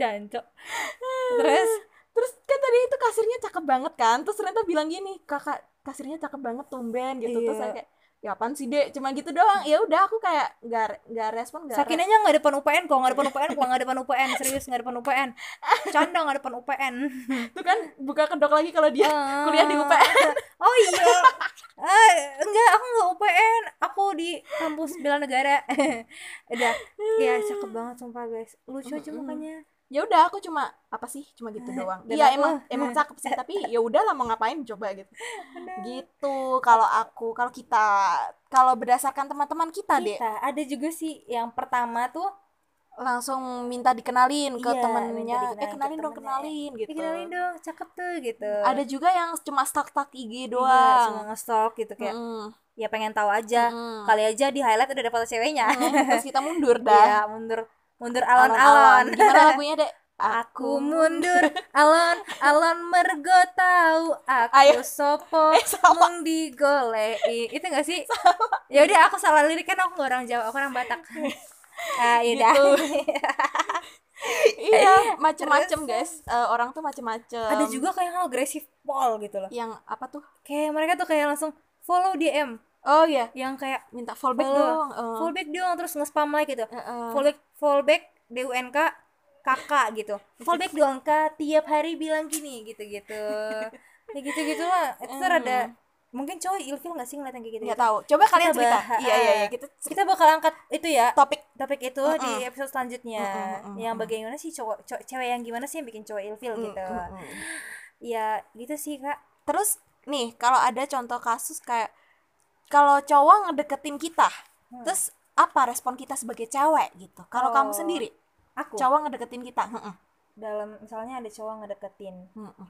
[SPEAKER 2] jancok terus
[SPEAKER 1] terus kan tadi itu kasirnya cakep banget kan terus ternyata bilang gini kakak kasirnya cakep banget tumben gitu terus
[SPEAKER 2] Iya.
[SPEAKER 1] saya kayak ya apaan sih dek cuma gitu doang ya udah aku kayak nggak nggak respon nggak re-
[SPEAKER 2] sakinanya nggak depan UPN kok nggak depan UPN kok nggak depan UPN serius nggak depan UPN canda nggak depan UPN
[SPEAKER 1] tuh kan buka kedok lagi kalau dia
[SPEAKER 2] Ah.
[SPEAKER 1] kuliah di UPN.
[SPEAKER 2] oh iya Eh, enggak aku nggak UPN aku di kampus bela negara udah ya cakep banget sumpah guys lucu aja
[SPEAKER 1] Mm-mm.
[SPEAKER 2] mukanya
[SPEAKER 1] ya udah aku cuma apa sih cuma gitu doang
[SPEAKER 2] Dan
[SPEAKER 1] iya
[SPEAKER 2] aku-
[SPEAKER 1] emang emang cakep sih tapi ya udah lah mau ngapain coba gitu gitu kalau aku kalau kita kalau berdasarkan teman-teman kita deh
[SPEAKER 2] kita ada ya? juga sih yang pertama tuh
[SPEAKER 1] langsung minta dikenalin ke
[SPEAKER 2] Iya, minta
[SPEAKER 1] temennya eh
[SPEAKER 2] dikenalin ke
[SPEAKER 1] kenalin dong
[SPEAKER 2] temennya,
[SPEAKER 1] kenalin gitu
[SPEAKER 2] "Ih, kenalin dong cakep tuh gitu
[SPEAKER 1] ada juga yang cuma stalk-stalk IG
[SPEAKER 2] Iya,
[SPEAKER 1] doang
[SPEAKER 2] cuma nge-stalk gitu kayak
[SPEAKER 1] Mm,
[SPEAKER 2] ya pengen tahu aja
[SPEAKER 1] mm,
[SPEAKER 2] kali aja di highlight udah dapat ceweknya
[SPEAKER 1] mm, terus kita mundur dah
[SPEAKER 2] Iya, mundur mundur
[SPEAKER 1] Alon-alon.
[SPEAKER 2] alon-alon
[SPEAKER 1] gimana lagunya dek
[SPEAKER 2] Aku mundur alon alon mergo tahu aku
[SPEAKER 1] Ayo.
[SPEAKER 2] sopo
[SPEAKER 1] eh sama
[SPEAKER 2] mung digolei itu gak sih ya udah aku salah lirik kan aku nggak orang Jawa aku orang Batak ah iya dah.
[SPEAKER 1] Gitu. iya macem-macem guys Eh, orang tuh macem-macem
[SPEAKER 2] ada juga kayak yang agresif pol gitu loh
[SPEAKER 1] yang apa tuh
[SPEAKER 2] kayak mereka tuh kayak langsung follow DM
[SPEAKER 1] oh iya
[SPEAKER 2] yang kayak
[SPEAKER 1] minta fallback
[SPEAKER 2] Follow.
[SPEAKER 1] dong Eh,
[SPEAKER 2] follow back dong terus nge-spam like gitu
[SPEAKER 1] eh, eh.
[SPEAKER 2] follow back follow back DUNK kakak gitu follow back DUNK tiap hari bilang gini gitu-gitu ya gitu-gitu lah itu tuh
[SPEAKER 1] Hmm.
[SPEAKER 2] rada mungkin cowok ilfil gak sih ngeliat yang kayak gitu
[SPEAKER 1] nggak tahu coba kalian
[SPEAKER 2] Kita
[SPEAKER 1] cerita
[SPEAKER 2] bahas.
[SPEAKER 1] iya iya iya kita cerita
[SPEAKER 2] kita bakal angkat itu ya
[SPEAKER 1] topik
[SPEAKER 2] topik itu di episode selanjutnya
[SPEAKER 1] Mm-mm, mm-mm,
[SPEAKER 2] yang bagaimana sih cowok, cowok- cewek yang gimana sih yang bikin cowok ilfil
[SPEAKER 1] Mm,
[SPEAKER 2] gitu
[SPEAKER 1] mm, mm.
[SPEAKER 2] ya gitu sih kak
[SPEAKER 1] terus nih kalau ada contoh kasus kayak kalau cowok ngedeketin kita
[SPEAKER 2] Hmm.
[SPEAKER 1] terus apa respon kita sebagai cewek gitu kalau kamu
[SPEAKER 2] Oh,
[SPEAKER 1] sendiri
[SPEAKER 2] aku
[SPEAKER 1] cowok ngedeketin kita heeh,
[SPEAKER 2] dalam misalnya ada cowok ngedeketin
[SPEAKER 1] heeh,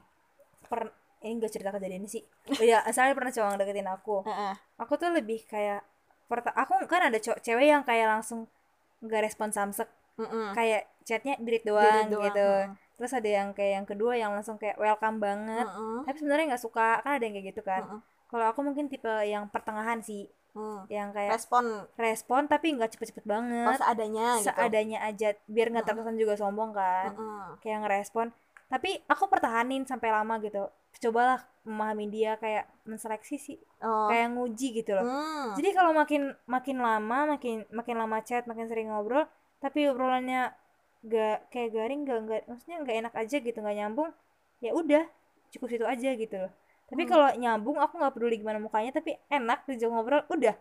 [SPEAKER 2] per ini gak cerita kejadian sih ya asalnya pernah cowok ngedeketin aku
[SPEAKER 1] heeh.
[SPEAKER 2] aku tuh lebih kayak perta- aku kan ada cowok cewek yang kayak langsung nggak respon samsek
[SPEAKER 1] Heeh.
[SPEAKER 2] kayak chatnya delete
[SPEAKER 1] Diri
[SPEAKER 2] doang,
[SPEAKER 1] doang,
[SPEAKER 2] gitu
[SPEAKER 1] heeh.
[SPEAKER 2] terus ada yang kayak yang kedua yang langsung kayak welcome banget
[SPEAKER 1] Heeh,
[SPEAKER 2] tapi sebenarnya nggak suka kan ada yang kayak gitu kan
[SPEAKER 1] heeh,
[SPEAKER 2] kalau aku mungkin tipe yang pertengahan sih
[SPEAKER 1] heeh.
[SPEAKER 2] yang kayak
[SPEAKER 1] Mm. respon
[SPEAKER 2] respon tapi nggak cepet-cepet
[SPEAKER 1] pas
[SPEAKER 2] banget
[SPEAKER 1] seadanya gitu
[SPEAKER 2] seadanya aja biar nggak terkesan juga sombong kan
[SPEAKER 1] Heeh.
[SPEAKER 2] kayak ngerespon tapi aku pertahanin sampai lama gitu cobalah memahami dia kayak menseleksi sih
[SPEAKER 1] Oh.
[SPEAKER 2] kayak nguji gitu loh
[SPEAKER 1] Hmm.
[SPEAKER 2] jadi kalau makin makin lama makin makin lama chat makin sering ngobrol tapi obrolannya gak kayak garing gak, nggak maksudnya nggak enak aja gitu nggak nyambung ya udah cukup situ aja gitu loh tapi
[SPEAKER 1] Hmm.
[SPEAKER 2] kalau nyambung aku nggak peduli gimana mukanya tapi enak diajak ngobrol udah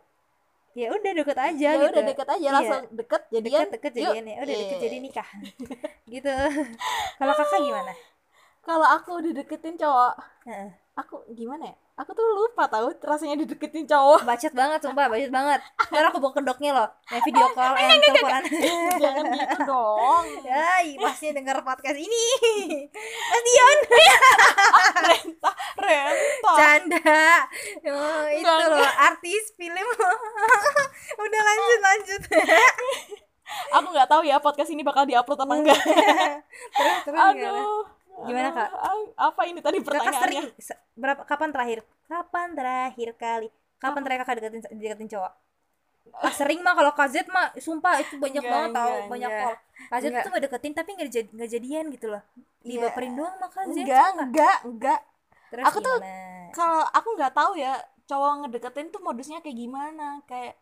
[SPEAKER 2] ya udah deket aja
[SPEAKER 1] ya
[SPEAKER 2] gitu
[SPEAKER 1] udah deket aja
[SPEAKER 2] Iya.
[SPEAKER 1] langsung deket jadian
[SPEAKER 2] deket deket
[SPEAKER 1] yuk. Iya.
[SPEAKER 2] jadian ya udah deket
[SPEAKER 1] Yeay.
[SPEAKER 2] jadi nikah gitu kalau kakak gimana
[SPEAKER 1] kalau aku dideketin cowok
[SPEAKER 2] Heeh.
[SPEAKER 1] aku gimana ya aku tuh lupa tahu rasanya dideketin cowok
[SPEAKER 2] bacot banget sumpah bacot banget ntar aku bawa kedoknya loh ya video call and teleponan
[SPEAKER 1] jangan gitu dong
[SPEAKER 2] Hai, pasti denger podcast ini.
[SPEAKER 1] rentah rentah
[SPEAKER 2] Canda. Oh, itu
[SPEAKER 1] Enggak,
[SPEAKER 2] loh artis film. Udah lanjut lanjut.
[SPEAKER 1] aku nggak tahu ya podcast ini bakal diupload apa enggak
[SPEAKER 2] terus terus gimana?
[SPEAKER 1] aduh
[SPEAKER 2] Gimana, Kak?
[SPEAKER 1] Aduh, apa ini tadi
[SPEAKER 2] Kakak sering
[SPEAKER 1] pertanyaannya
[SPEAKER 2] se- berapa kapan terakhir? Kapan terakhir kali? Kapan terakhir kakak deketin deketin cowok? Ah, sering mah kalau KZ mah sumpah itu banyak
[SPEAKER 1] Enggak,
[SPEAKER 2] banget tau
[SPEAKER 1] enggak,
[SPEAKER 2] banyak
[SPEAKER 1] enggak.
[SPEAKER 2] call. KZ
[SPEAKER 1] Enggak.
[SPEAKER 2] tuh gak deketin tapi gak, jadi, nggak jadian gitu loh.
[SPEAKER 1] Iya.
[SPEAKER 2] Dibaperin doang sama KZ.
[SPEAKER 1] enggak
[SPEAKER 2] sumpah.
[SPEAKER 1] enggak enggak
[SPEAKER 2] Terus
[SPEAKER 1] Aku tuh-
[SPEAKER 2] gimana?
[SPEAKER 1] kalau aku nggak tahu ya cowok ngedeketin tuh modusnya kayak gimana kayak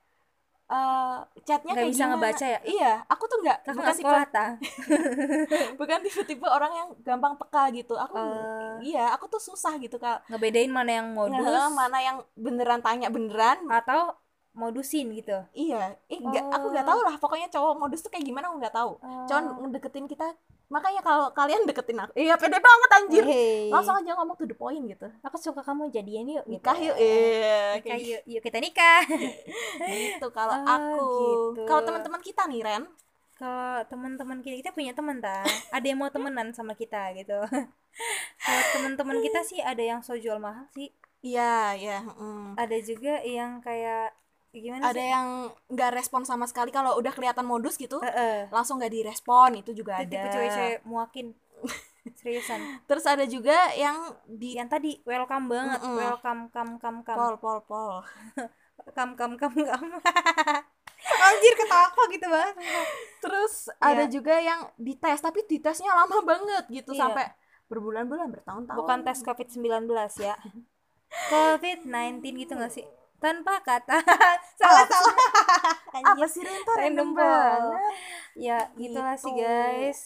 [SPEAKER 1] eh chatnya
[SPEAKER 2] Nggak
[SPEAKER 1] kayak
[SPEAKER 2] bisa
[SPEAKER 1] gimana.
[SPEAKER 2] ngebaca ya?
[SPEAKER 1] iya aku tuh nggak
[SPEAKER 2] Kakak
[SPEAKER 1] bukan
[SPEAKER 2] nggak
[SPEAKER 1] tipe
[SPEAKER 2] sekolah tah?
[SPEAKER 1] Hmm. bukan tipe-tipe kan orang yang gampang peka gitu aku
[SPEAKER 2] Eh.
[SPEAKER 1] iya aku tuh susah gitu kalau
[SPEAKER 2] Ngebedain mana yang Oh, modus
[SPEAKER 1] Ngehe, mana yang beneran tanya beneran
[SPEAKER 2] atau modusin gitu.
[SPEAKER 1] Iya, eh, nggak- aku nggak
[SPEAKER 2] Oh.
[SPEAKER 1] tahu lah. Pokoknya cowok modus tuh kayak gimana aku nggak tahu. Cowok ngedeketin kita, makanya kalau kalian deketin aku, iya pede banget anjir.
[SPEAKER 2] Oh, Hey.
[SPEAKER 1] Langsung aja ngomong to the point gitu.
[SPEAKER 2] aku suka kamu jadian yuk gitu.
[SPEAKER 1] Nikah yuk, eh,
[SPEAKER 2] Nikah
[SPEAKER 1] kayak
[SPEAKER 2] yuk, yuk kita nikah.
[SPEAKER 1] gitu. Kalau
[SPEAKER 2] Ah,
[SPEAKER 1] aku,
[SPEAKER 2] gitu.
[SPEAKER 1] kalau teman-teman kita nih Ren,
[SPEAKER 2] Kalau teman-teman kita kita punya teman ta, ada yang mau temenan sama kita gitu. Kalau teman-teman kita sih ada yang so jual mahal sih,
[SPEAKER 1] iya iya. mm.
[SPEAKER 2] ada juga yang kayak gimana
[SPEAKER 1] Ada
[SPEAKER 2] sih?
[SPEAKER 1] yang nggak respon sama sekali kalau udah kelihatan modus gitu,
[SPEAKER 2] Heeh.
[SPEAKER 1] langsung nggak direspon itu juga ada.
[SPEAKER 2] Itu tipe cewek-cewek muakin. seriusan
[SPEAKER 1] Terus ada juga yang di
[SPEAKER 2] yang tadi welcome banget
[SPEAKER 1] Mm-mm.
[SPEAKER 2] welcome kam kam kam
[SPEAKER 1] pol pol pol.
[SPEAKER 2] kam kam kam kam anjir ketawa kok gitu banget
[SPEAKER 1] Terus
[SPEAKER 2] Iya.
[SPEAKER 1] ada juga yang dites tapi ditesnya lama banget gitu
[SPEAKER 2] Iya.
[SPEAKER 1] sampai berbulan-bulan bertahun-tahun.
[SPEAKER 2] bukan tes covid 19 ya covid 19 gitu gak sih tanpa kata salah salah
[SPEAKER 1] apa
[SPEAKER 2] anjir
[SPEAKER 1] sih Renta
[SPEAKER 2] Random
[SPEAKER 1] random
[SPEAKER 2] pol.
[SPEAKER 1] banget.
[SPEAKER 2] ya gitulah sih
[SPEAKER 1] Gitu.
[SPEAKER 2] guys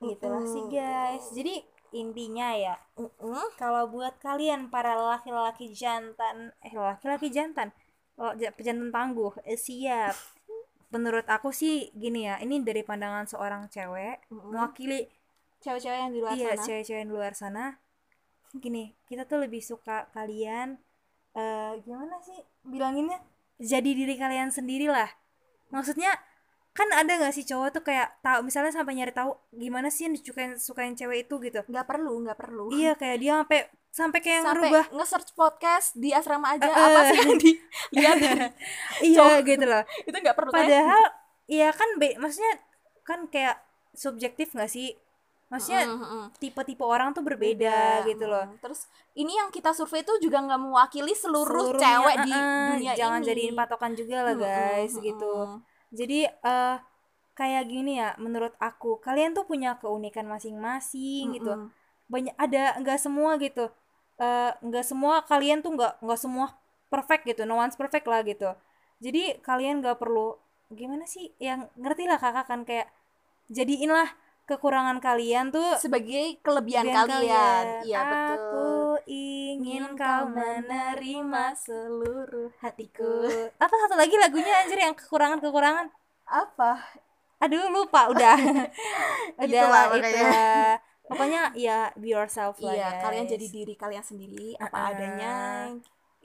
[SPEAKER 2] gitulah
[SPEAKER 1] Mm-mm.
[SPEAKER 2] sih guys jadi intinya ya
[SPEAKER 1] Mm-mm.
[SPEAKER 2] kalau buat kalian para laki-laki jantan eh laki-laki jantan oh, ja- jantan tangguh eh, siap menurut aku sih gini ya ini dari pandangan seorang cewek
[SPEAKER 1] Mm-mm.
[SPEAKER 2] mewakili
[SPEAKER 1] Cewek-cewek yang di luar
[SPEAKER 2] iya
[SPEAKER 1] sana.
[SPEAKER 2] cewek-cewek di luar sana gini kita tuh lebih suka kalian eh gimana sih bilanginnya jadi diri kalian sendirilah maksudnya kan ada nggak sih cowok tuh kayak tahu misalnya sampai nyari tahu gimana sih yang disukain sukain cewek itu gitu
[SPEAKER 1] nggak perlu, nggak perlu.
[SPEAKER 2] iya kayak dia sampai sampai kayak
[SPEAKER 1] Sampai
[SPEAKER 2] ngerubah
[SPEAKER 1] nge-search podcast di asrama aja
[SPEAKER 2] Eh,
[SPEAKER 1] apa
[SPEAKER 2] eh.
[SPEAKER 1] sih yang dilihat
[SPEAKER 2] iya
[SPEAKER 1] cowok.
[SPEAKER 2] gitu loh
[SPEAKER 1] itu nggak perlu kayak-
[SPEAKER 2] padahal iya kan be maksudnya kan kayak subjektif nggak sih maksudnya
[SPEAKER 1] Mm, mm, mm.
[SPEAKER 2] tipe-tipe orang tuh berbeda gitu loh
[SPEAKER 1] Mm. terus ini yang kita survei tuh juga nggak mewakili seluruh
[SPEAKER 2] Seluruhnya,
[SPEAKER 1] cewek di
[SPEAKER 2] eh,
[SPEAKER 1] dunia
[SPEAKER 2] jangan
[SPEAKER 1] ini
[SPEAKER 2] jadiin patokan juga
[SPEAKER 1] Mm,
[SPEAKER 2] lah
[SPEAKER 1] mm,
[SPEAKER 2] guys
[SPEAKER 1] mm,
[SPEAKER 2] gitu
[SPEAKER 1] mm.
[SPEAKER 2] jadi eh kayak gini ya menurut aku kalian tuh punya keunikan masing-masing gitu
[SPEAKER 1] Mm, mm.
[SPEAKER 2] banyak ada nggak semua gitu Eh, nggak semua kalian tuh nggak nggak semua perfect gitu no one's perfect lah gitu jadi kalian nggak perlu gimana sih yang ngerti lah kakak kan kayak jadiinlah kekurangan kalian tuh
[SPEAKER 1] sebagai kelebihan
[SPEAKER 2] kelebihan
[SPEAKER 1] kalian, iya
[SPEAKER 2] aku
[SPEAKER 1] betul
[SPEAKER 2] ingin kau menerima
[SPEAKER 1] seluruh
[SPEAKER 2] hatiku apa satu lagi lagunya anjir yang kekurangan kekurangan
[SPEAKER 1] apa
[SPEAKER 2] aduh lupa udah udah
[SPEAKER 1] Itulah
[SPEAKER 2] lah,
[SPEAKER 1] pokoknya.
[SPEAKER 2] itulah. pokoknya ya be yourself lah
[SPEAKER 1] iya kalian
[SPEAKER 2] guys.
[SPEAKER 1] jadi diri kalian sendiri apa
[SPEAKER 2] Uh-uh.
[SPEAKER 1] adanya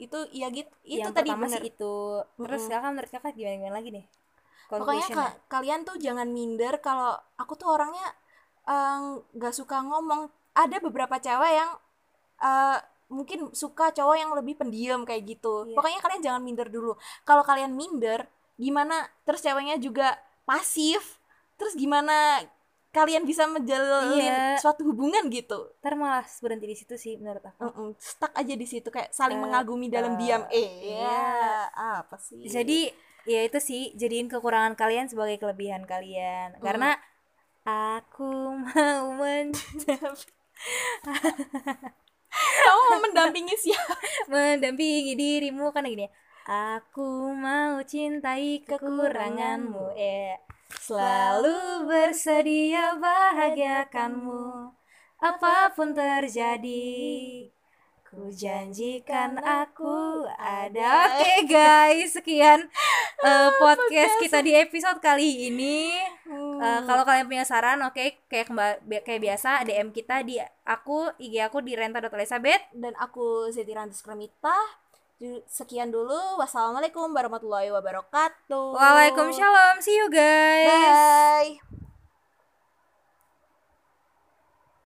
[SPEAKER 1] itu iya gitu itu
[SPEAKER 2] yang
[SPEAKER 1] tadi
[SPEAKER 2] pertama
[SPEAKER 1] bener
[SPEAKER 2] sih itu terus
[SPEAKER 1] Mm-mm.
[SPEAKER 2] kakak menurut kakak gimana gimana lagi nih
[SPEAKER 1] pokoknya
[SPEAKER 2] Conclusion-nya.
[SPEAKER 1] ka- kalian tuh jangan minder kalau aku tuh orangnya eh, nggak suka ngomong ada beberapa cewek yang eh, mungkin suka cowok yang lebih pendiam kayak gitu
[SPEAKER 2] Iya.
[SPEAKER 1] pokoknya kalian jangan minder dulu kalau kalian minder gimana terus ceweknya juga pasif terus gimana kalian bisa menjalin
[SPEAKER 2] Iya.
[SPEAKER 1] suatu hubungan gitu
[SPEAKER 2] ntar malah berhenti di situ sih menurut aku
[SPEAKER 1] Mm-mm, stuck aja di situ kayak saling
[SPEAKER 2] Eh,
[SPEAKER 1] mengagumi dalam
[SPEAKER 2] eh,
[SPEAKER 1] diam eh
[SPEAKER 2] iya.
[SPEAKER 1] ya apa sih
[SPEAKER 2] jadi ya itu sih jadiin kekurangan kalian sebagai kelebihan
[SPEAKER 1] Mm.
[SPEAKER 2] kalian karena aku mau men
[SPEAKER 1] kamu mau mendampingi siapa
[SPEAKER 2] mendampingi dirimu kan gini ya. aku mau cintai kekuranganmu eh selalu bersedia bahagiakanmu apapun terjadi ku janjikan aku ada oke guys sekian eh, podcast kita di episode kali ini
[SPEAKER 1] Hmm.
[SPEAKER 2] Eh, kalau kalian punya saran, oke, kayak kemba- bi- kayak biasa DM kita di aku IG aku di renta.elizabeth.
[SPEAKER 1] dan aku Zeti Rantis Kremita. Ju- Sekian dulu. Wassalamualaikum warahmatullahi wabarakatuh.
[SPEAKER 2] Waalaikumsalam, see you guys.
[SPEAKER 1] Bye.